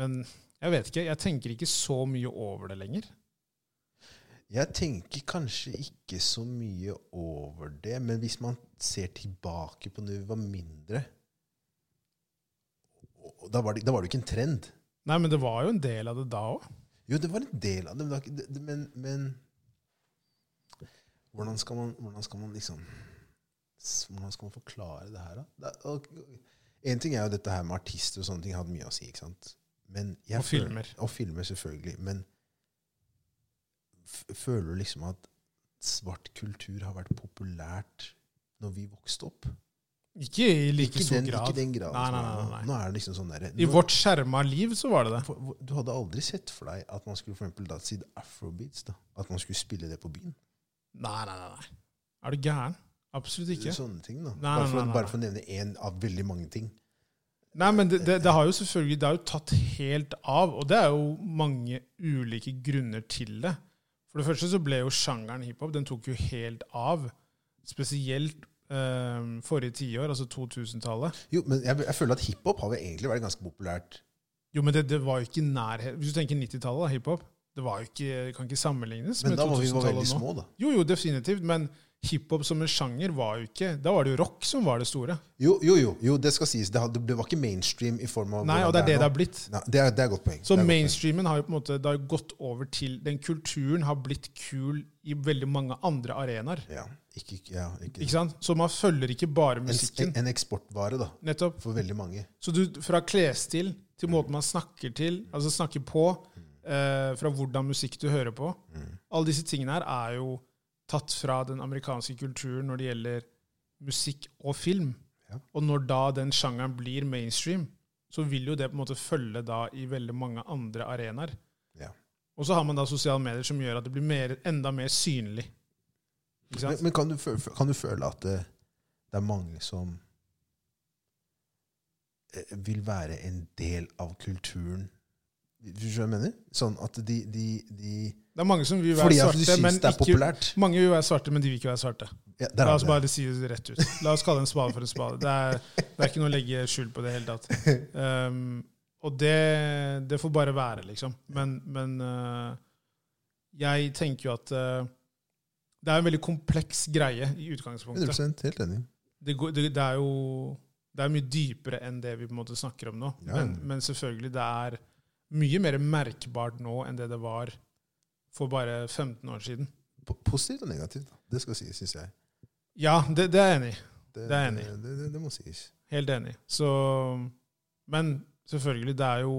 S1: men jeg vet ikke. Jeg tenker ikke så mye over det lenger.
S2: Jeg tenker kanskje ikke så mye over det, men hvis man ser tilbake på når vi var mindre og- og da var, det, da var det jo ikke en trend.
S1: Nei, men det var jo en del av det da òg.
S2: Jo, det var en del av det, men, det var ikke- det- det- men, men hvordan, skal man, hvordan skal man liksom s- Hvordan skal man forklare det her, da? Det er- og- En ting er jo dette her med artister og sånne ting har hatt mye å si, ikke sant? Men jeg
S1: Og
S2: føler-
S1: filmer.
S2: Og filmer, selvfølgelig. Men f føler du liksom at svart kultur har vært populært når vi vokste opp?
S1: Ikke i like
S2: ikke,
S1: stor
S2: den,
S1: grad.
S2: ikke den graden.
S1: Nei,
S2: som
S1: nei,
S2: er
S1: nei,
S2: nå.
S1: nei.
S2: Nå er det liksom sånn derre
S1: I
S2: nå-
S1: vårt skjerma liv så var det det.
S2: for, hvor- du hadde aldri sett for deg at man skulle for eksempel da si afrobeats? da, At man skulle spille det på byen?
S1: Nei, nei, nei. nei. Er du gæren? Absolutt ikke.
S2: Sånne ting da.
S1: Nei,
S2: Bare for,
S1: nei, nei,
S2: bare for å nevne én av veldig mange ting.
S1: Nei, men det, det, det har jo selvfølgelig det har jo tatt helt av, og det er jo mange ulike grunner til det. For det første så ble jo sjangeren hiphop den tok jo helt av. Spesielt eh, forrige tiår, altså 2000-tallet.
S2: Jo, men jeg, jeg føler at hiphop har jo egentlig vært ganske populært.
S1: Jo, men det, det var jo ikke i nærhet Hvis du tenker 90-tallet, da, hiphop, Det var jo ikke, kan ikke sammenlignes
S2: Men
S1: med
S2: da var vi var veldig
S1: 2000-tallet nå.
S2: små, da.
S1: Jo, jo, definitivt. Men hiphop som en sjanger var jo ikke Da var det jo rock som var det store.
S2: Jo, jo, jo, jo det skal sies. Det, hadde, det var ikke mainstream i form av
S1: Nei,
S2: hvordan
S1: og det er det det
S2: nå.
S1: har blitt.
S2: Nei, det, er, det er et godt poeng.
S1: Så
S2: Det er et godt poeng.
S1: mainstreamen har jo på en måte det har gått over til Den kulturen har blitt kul i veldig mange andre arenaer.
S2: Ja, ikke, ikke- ja, ikke.
S1: Ikke sant? Så man følger ikke bare musikken.
S2: En, en eksportvare, da.
S1: Nettopp.
S2: For veldig mange.
S1: Så du, fra klesstil til måten man snakker til, altså snakker på, eh, fra hvordan musikk du hører på Alle disse tingene her er jo tatt fra den amerikanske kulturen når det gjelder musikk og film.
S2: Ja.
S1: Og når da den sjangeren blir mainstream, så vil jo det på en måte følge da i veldig mange andre arenaer.
S2: Ja.
S1: Og så har man da sosiale medier som gjør at det blir mer, enda mer synlig. Ikke
S2: Men,
S1: sant?
S2: men kan, du føle, kan du føle at det, det er mange som eh, vil være en del av kulturen? Skjønner du hva jeg mener? Sånn at de, de, de
S1: det er mange som vil være
S2: Fordi at du
S1: svarte, men
S2: syns det er
S1: ikke,
S2: populært?
S1: mange vil være svarte, men de vil ikke være svarte.
S2: Ja, der
S1: La
S2: har
S1: oss
S2: vi det.
S1: bare si det rett ut. La oss kalle en spade for en spade. Det er, det er ikke noe å legge skjul på i det hele tatt. Um, og det, det får bare være, liksom. Men, men uh, jeg tenker jo at uh, det er en veldig kompleks greie i utgangspunktet.
S2: 100 helt enig.
S1: Det, går- det, det er jo det er mye dypere enn det vi på en måte snakker om nå.
S2: Ja.
S1: Men, men selvfølgelig, det er mye mer merkbart nå enn det det var for bare 15 år siden.
S2: Po- Positivt og negativt, da. Det skal sies, syns jeg.
S1: Ja, det, det er jeg enig i. Det er jeg enig
S2: det, det, det, det må sies.
S1: Helt enig. Så, men selvfølgelig, det er jo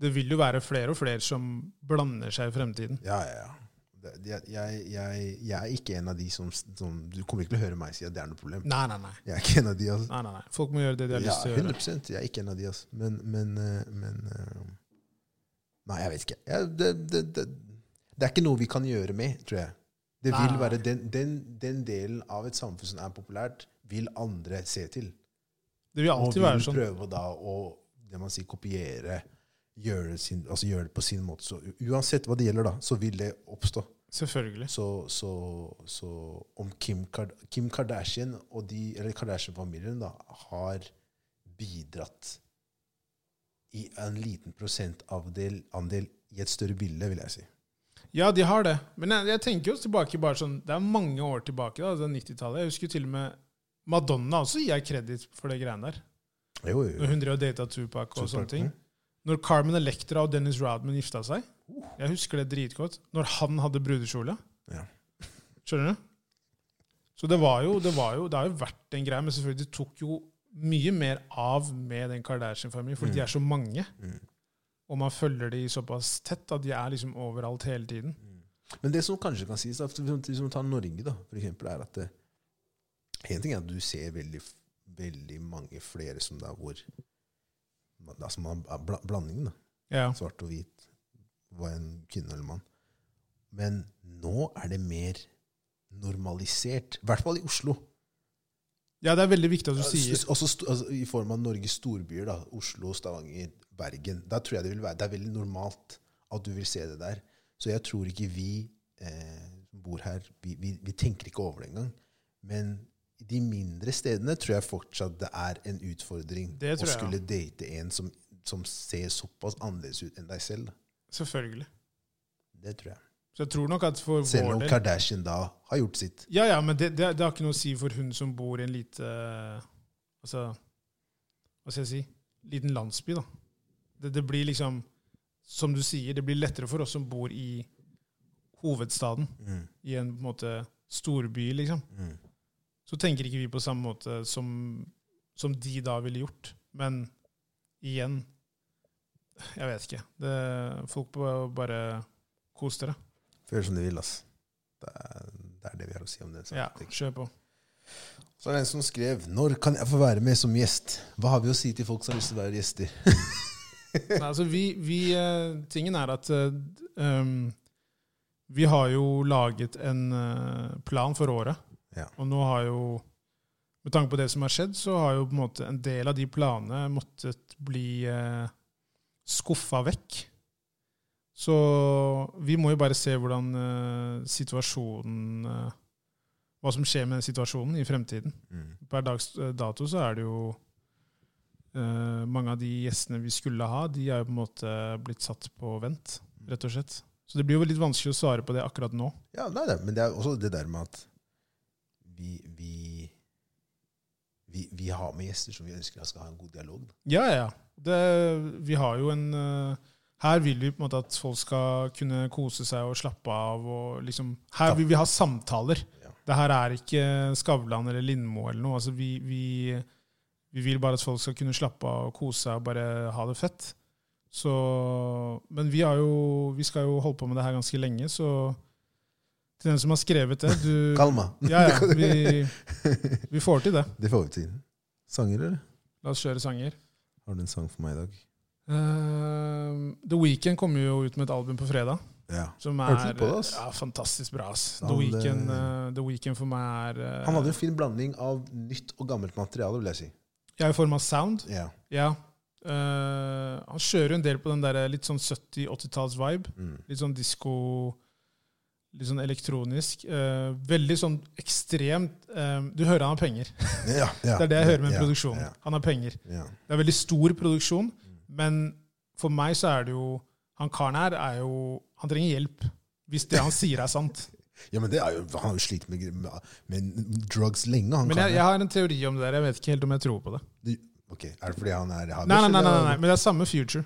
S1: Det vil jo være flere og flere som blander seg i fremtiden.
S2: Ja, ja, ja. Det- Jeg, jeg, jeg, jeg er ikke en av de som, som Du kommer ikke til å høre meg si at det er noe problem.
S1: Nei, nei, nei.
S2: Jeg er ikke en av de, altså.
S1: nei, nei, nei. Folk må gjøre det de har
S2: Ja,
S1: lyst til å gjøre.
S2: 100 Jeg er ikke en av de, altså. Men, men, eh, men eh, Nei, jeg vet ikke. Jeg, det, det, det, det er ikke noe vi kan gjøre med, tror jeg. Det
S1: Nei,
S2: vil
S1: nei, nei.
S2: være den, den, den delen av et samfunn som er populært, vil andre se til.
S1: Det vil
S2: Og
S1: alltid
S2: vil
S1: være sånn.
S2: prøve da å det man sier, kopiere, gjøre, sin, altså gjøre det på sin måte. Så u- uansett hva det gjelder, da, så vil det oppstå.
S1: Selvfølgelig.
S2: Så, så, så om Kim, Kard Kim Kardashian og de, eller Kardashian-familien da, har bidratt i en liten prosentandel andel i et større bilde, vil jeg si.
S1: Ja, de har det. Men jeg, jeg tenker jo tilbake bare sånn Det er mange år tilbake, da, det er 90-tallet. Jeg husker til og med Madonna også gir jeg kreditt for det greiene der.
S2: Jo, jo, jo.
S1: Når hun drev og data Tupac og
S2: Tupac,
S1: sånne ting.
S2: ja.
S1: Når Carmen Electra og Dennis Rodman gifta seg
S2: Uh.
S1: Jeg husker det dritgodt. Når han hadde brudekjole.
S2: Ja.
S1: Skjønner du? Så det var jo Det, var jo, det har jo vært en greie, men selvfølgelig det tok jo mye mer av med den Kardashian-familien, fordi de er så
S2: Mm.
S1: mange. Og man følger de såpass tett at de er liksom overalt hele tiden.
S2: Men det som kanskje kan sies, da, for eksempel hvis man tar Norge, da, for eksempel, er at det, en ting er at du ser veldig, veldig mange flere som det er hvor man- altså man er bla- blandingen, da.
S1: Ja.
S2: Svart og hvit, hva en kvinne eller mann. Men nå er det mer normalisert, i hvert fall i Oslo.
S1: ja, det er veldig viktig at du sier
S2: S- Også sto- altså, I form av Norges storbyer, da. Oslo, Stavanger, Bergen. Da tror jeg det vil være, det er veldig normalt at du vil se det der. Så jeg tror ikke vi eh, som bor her, vi, vi, vi tenker ikke over det engang. Men i de mindre stedene tror jeg fortsatt det er en utfordring
S1: Det tror
S2: å
S1: jeg,
S2: skulle date en som, som ser såpass annerledes ut enn deg selv. Da.
S1: Selvfølgelig.
S2: Det tror jeg.
S1: Så jeg tror nok at for
S2: Selv
S1: vår
S2: om
S1: del
S2: Kardashian da har gjort sitt.
S1: Ja, ja, men det, det, det har ikke noe å si for hun som bor i en lite Altså, hva skal jeg si? Liten landsby, da. Det, det blir liksom, som du sier, det blir lettere for oss som bor i hovedstaden, i en på en måte storby, liksom.
S2: Mm.
S1: Så tenker ikke vi på samme måte som, som de da ville gjort. Men igjen Jeg vet ikke. Det, folk bør bare kose dere.
S2: Føler som de vil, altså. Det er, det er det vi har å si om den saken.
S1: Ja,
S2: tenker jeg.
S1: kjør på.
S2: Så er det en som skrev 'Når kan jeg få være med som gjest?' Hva har vi å si til folk som har lyst til å være gjester?
S1: Nei, altså vi, vi eh, Tingen er at eh, d- ehm, vi har jo laget en eh, plan for året.
S2: Ja.
S1: Og nå har jo Med tanke på det som har skjedd, så har jo på en måte en del av de planene måttet bli uh, skuffa vekk. Så vi må jo bare se hvordan eh, situasjonen eh, Hva som skjer med den situasjonen i fremtiden. Per dags eh, dato så er det jo eh, mange av de gjestene vi skulle ha, de er jo på en måte blitt satt på vent, rett og slett. Så det blir jo litt vanskelig å svare på det akkurat nå.
S2: Ja, nei, nei, men det er også det der med at vi, vi, vi, vi har med gjester som vi ønsker at skal ha en god dialog. Da.
S1: Ja, ja, ja. Det, vi har jo en eh, Her vil vi på en måte at folk skal kunne kose seg og slappe av. Og liksom, her vil vi ha samtaler.
S2: Ja.
S1: Det her er ikke Skavlan eller Lindmo eller noe. Altså, vi, vi, vi vil bare at folk skal kunne slappe av og kose seg og bare ha det fett. Så, men vi, har jo, vi skal jo holde på med det her ganske lenge, så til den som har skrevet det du,
S2: Kalma. [laughs]
S1: Ja, ja, vi, vi får til det.
S2: Det får vi til. Sanger, eller?
S1: La oss kjøre sanger.
S2: Har du en sang for meg i dag?
S1: Ehm, The Weeknd kommer jo ut med et album på fredag.
S2: Ja.
S1: Som er
S2: Hørte litt på det, ass.
S1: Ja, fantastisk bra. ass. The
S2: Han,
S1: Weeknd
S2: eh,
S1: eh, The Weeknd for meg er eh,
S2: Han hadde en fin blanding av nytt og gammelt materiale, vil jeg si.
S1: Ja, i form av sound.
S2: Ja.
S1: Ja. Eh, han kjører jo en del på den der litt sånn 70-80-talls-vibe.
S2: Mm.
S1: Litt sånn disko Litt sånn elektronisk. Eh, veldig sånn ekstremt eh, Du hører han har penger.
S2: Ja, ja.
S1: Det er det jeg hører med
S2: Ja,
S1: produksjonen.
S2: Ja,
S1: Han har penger.
S2: ja.
S1: Det er veldig stor produksjon, men for meg så er det jo Han karen her er jo Han trenger hjelp. Hvis det han sier, er sant.
S2: ja, men det er jo, han har jo slitt med, med drugs lenge, han
S1: [laughs] Men jeg,
S2: karen
S1: jeg
S2: her.
S1: har en teori om det der. Jeg vet ikke helt om jeg tror på det.
S2: Du- Ok, Er det fordi han er habers?
S1: Nei, nei, nei, nei,
S2: eller-
S1: nei, nei. men det er samme future.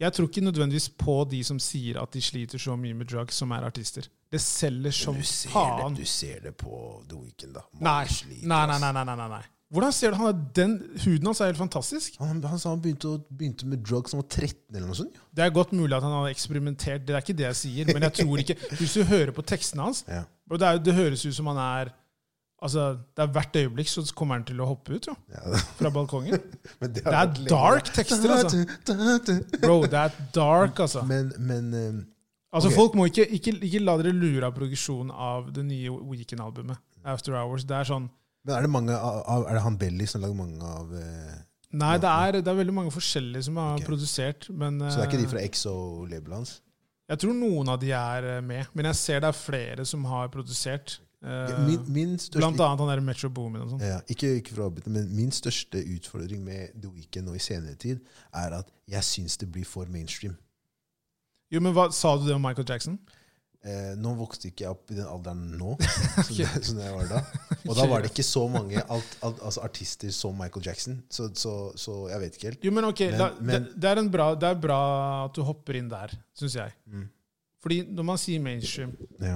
S1: Jeg tror ikke nødvendigvis på de som sier at de sliter så mye med drugs, som er artister. Det selger som
S2: Du ser,
S1: faen.
S2: det, du ser det på The Weeknd, da. Man
S1: Nei.
S2: sliter,
S1: Nei, nei,
S2: ass.
S1: nei, nei, nei, nei, nei. Hvordan ser du han er den, Huden hans er helt fantastisk.
S2: Han, han sa han begynte, å, begynte med drugs da han var 13 eller noe sånt. ja.
S1: Det er godt mulig at han har eksperimentert, det er ikke det jeg sier. Men jeg tror ikke Hvis du hører på tekstene hans,
S2: Ja.
S1: Og det, er, jo- det høres ut som han er Altså, det er Hvert øyeblikk så kommer han til å hoppe ut jo,
S2: Ja, [laughs]
S1: fra balkongen.
S2: men det,
S1: Det er dark tekster, altså.
S2: altså.
S1: Bro, det er dark, altså.
S2: [laughs] Men, men eh,
S1: Altså,
S2: Ok.
S1: Folk må ikke, ikke, ikke la dere lure av produksjonen av det nye Weekend-albumet. After Hours. Det er sånn
S2: Men er det mange av, av- er det han Belly som lager mange av eh,
S1: Nei, det er, det er veldig mange forskjellige som har
S2: Ok.
S1: produsert, men
S2: Så det er ikke de
S1: eh,
S2: fra Exo-labelet hans?
S1: Jeg tror noen av de er eh, med, men jeg ser det er flere som har produsert. Eh,
S2: Min, min største,
S1: blant annet han der Metro Boomin og sånn.
S2: Ja, ikke, ikke for å avbryte, men min største utfordring med The Weeknd nå i senere tid, er at jeg syns det blir for mainstream.
S1: Jo, men hva, Sa du det om Michael Jackson?
S2: Eh, nå vokste ikke jeg opp i den alderen
S1: [laughs]
S2: nå, som, det, som jeg var da. Og da var det ikke så mange
S1: [laughs]
S2: alt, alt, altså artister som Michael Jackson, så, så, så jeg vet ikke helt.
S1: Jo, men ok,
S2: Men-
S1: da,
S2: men-
S1: det, det, er en bra, det er bra at du hopper inn der, syns jeg.
S2: Mm.
S1: Fordi når man sier mainstream
S2: Ja.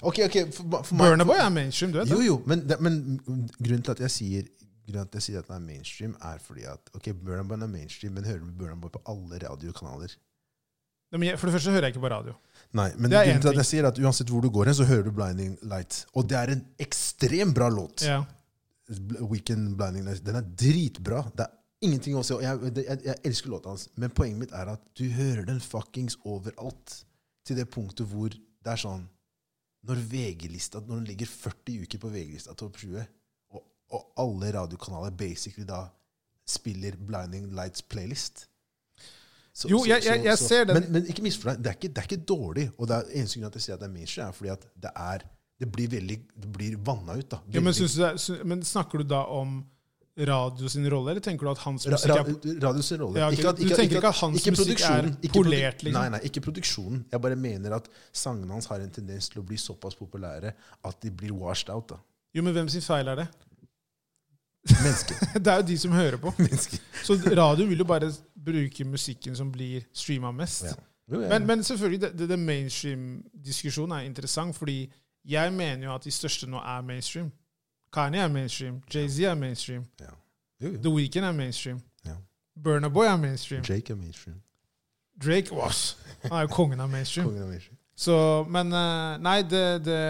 S2: Ok, ok, for, for meg,
S1: Burnaboy er mainstream, du vet
S2: Jo,
S1: det?
S2: jo, men, det, men grunnen til at jeg sier Grunnen til at jeg sier at den er mainstream, er fordi at ok, Burna Boy er mainstream, men hører du Burna Boy på alle radiokanaler?
S1: Nei, men jeg- For det første hører jeg ikke på radio.
S2: Nei, men
S1: Det er en
S2: grunnen til at
S1: ting.
S2: jeg sier at uansett hvor du går hen, så hører du Blinding Lights. Og det er en ekstremt bra låt.
S1: Ja.
S2: Bl- Weekend Blinding Lights. Den er dritbra. Det er ingenting å si. og Jeg, det- jeg, jeg elsker låta hans, men poenget mitt er at du hører den fuckings overalt. Til det punktet hvor det er sånn Når VG-lista Når den ligger 40 uker på VG-lista topp 20, og, og alle radiokanaler basically da spiller Blinding Lights playlist Så-
S1: Jo,
S2: så-
S1: jeg- jeg-
S2: så-
S1: jeg
S2: så-
S1: ser den.
S2: Men, men ikke misforstå meg. Det er ikke, det er ikke dårlig. Og det er eneste grunn til at jeg sier at det er mainstream, er fordi at det er det blir veldig, det blir vanna ut. da.
S1: Jo, men,
S2: Veldig-
S1: synes du det, er- sy- men snakker du da om radio sin rolle, eller tenker du at hans
S2: Ra
S1: musikk er
S2: ra- radios rolle.
S1: Ja, ok. Du tenker ikke at hans musikk er
S2: produksjonen, ikke produ-
S1: polert, liksom?
S2: Nei, nei, ikke produksjonen. Jeg bare mener at sangene hans har en tendens til å bli såpass populære at de blir washed out. da.
S1: Jo, men hvem sin feil er det? [laughs]
S2: Mennesker.
S1: Det er jo de som hører
S2: [laughs]
S1: på.
S2: Mennesker.
S1: Så radio vil jo bare bruke musikken som blir streama mest.
S2: Ja. Jo, ja.
S1: Men, men selvfølgelig, det, det, det mainstream-diskusjonen er interessant, fordi jeg mener jo at de største nå er mainstream. Kanye er mainstream, Jay-Z er mainstream,
S2: jo, jo.
S1: The Weeknd er mainstream,
S2: Ja.
S1: Burna Boy er mainstream,
S2: Jake er mainstream.
S1: Drake
S2: [laughs]
S1: was. Han er jo kongen av mainstream.
S2: Kongen er mainstream.
S1: Så, men eh, nei, det, det,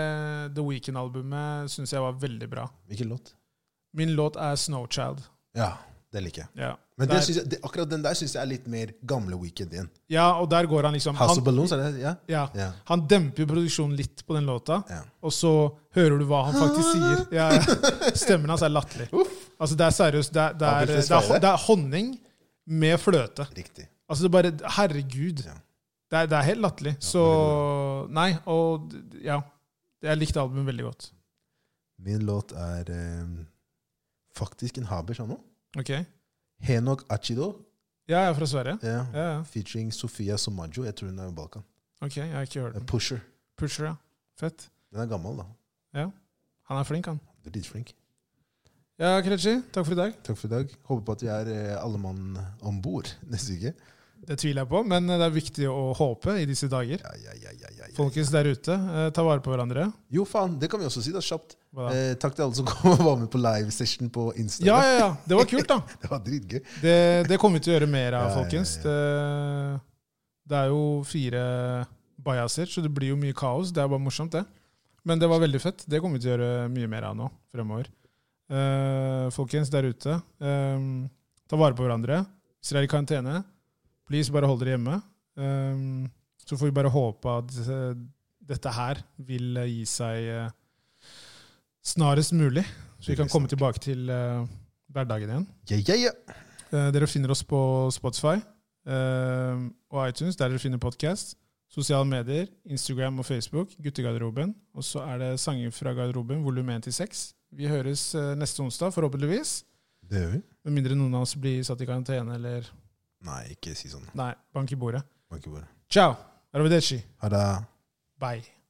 S1: The Weekend-albumet syns jeg var veldig bra.
S2: Hvilken låt?
S1: Min låt er Snowchild.
S2: Ja, det liker jeg.
S1: Ja.
S2: Men
S1: Der-
S2: det synes jeg, det, akkurat den der syns jeg er litt mer gamle Weekend igjen.
S1: ja, og der går han liksom
S2: House of
S1: han,
S2: Balloons, er det? Ja.
S1: ja,
S2: Ja.
S1: han demper jo produksjonen litt på den låta.
S2: ja.
S1: Og så hører du hva han
S2: Ah.
S1: faktisk sier. Ja, ja. Stemmen hans er
S2: [laughs]
S1: latterlig. Altså, det er seriøst. Det er, det er,
S2: Han fikk
S1: det
S2: litt
S1: er,
S2: feil, det.
S1: det er honning med fløte.
S2: Riktig.
S1: Altså, det er bare Herregud.
S2: Ja.
S1: Det er, det er helt latterlig. Så Nei, og d- ja. Jeg likte albumet veldig godt.
S2: Min låt er eh, faktisk en habers han nå.
S1: Ok? Ja,
S2: Henok Achido.
S1: jeg er fra Sverige.
S2: Ja.
S1: Ja, ja.
S2: Featuring Sofia Somaggio. Jeg tror hun er i Balkan.
S1: Ok, jeg har ikke hørt
S2: Det
S1: den.
S2: er Pusher.
S1: Pusher, ja. Fett.
S2: Den er gammel, da.
S1: Han er flink, han.
S2: Dritflink.
S1: Ja, Kretschi, takk for i dag.
S2: Takk for i dag. Håper på at vi er eh, alle mann om bord [laughs] neste uke.
S1: Det tviler jeg på, men eh, det er viktig å håpe i disse dager.
S2: Ja, ja, ja, ja, ja, ja.
S1: Folkens der ute, eh, ta vare på hverandre.
S2: Jo, faen, det kan vi også si, da. Kjapt.
S1: Hva da?
S2: Eh, takk til alle som [laughs] kom og var med på livesession på Insta.
S1: Ja, ja, ja. Det var kult, da.
S2: [laughs] Det var dritgøy.
S1: Det, det kommer vi til å gjøre mer av,
S2: Ja, ja, ja,
S1: folkens. Det, det er jo fire bajaser, så det blir jo mye kaos. Det er bare morsomt, det. Men det var veldig fett. Det kommer vi til å gjøre mye mer av nå fremover. Eh, folkens der ute, eh, ta vare på hverandre. Hvis dere er i karantene, please bare hold dere hjemme. Eh, så får vi bare håpe at disse- dette her vil eh, gi seg eh, snarest mulig, så vi kan komme tilbake til eh, hverdagen igjen.
S2: Ja, ja, ja.
S1: Eh, Dere finner oss på Spotify eh, og iTunes, der dere finner podkast. Sosiale medier, Instagram og Facebook, Guttegarderoben. Og så er det Sanger fra garderoben, volum 1 til 6. Vi høres eh, neste onsdag, forhåpentligvis.
S2: Det gjør vi.
S1: Med mindre noen av oss blir satt i karantene eller
S2: Nei, ikke si sånn.
S1: Nei, bank i bordet.
S2: Bank i bordet.
S1: Ciao! Arrivederci.
S2: Ha det.
S1: Bye.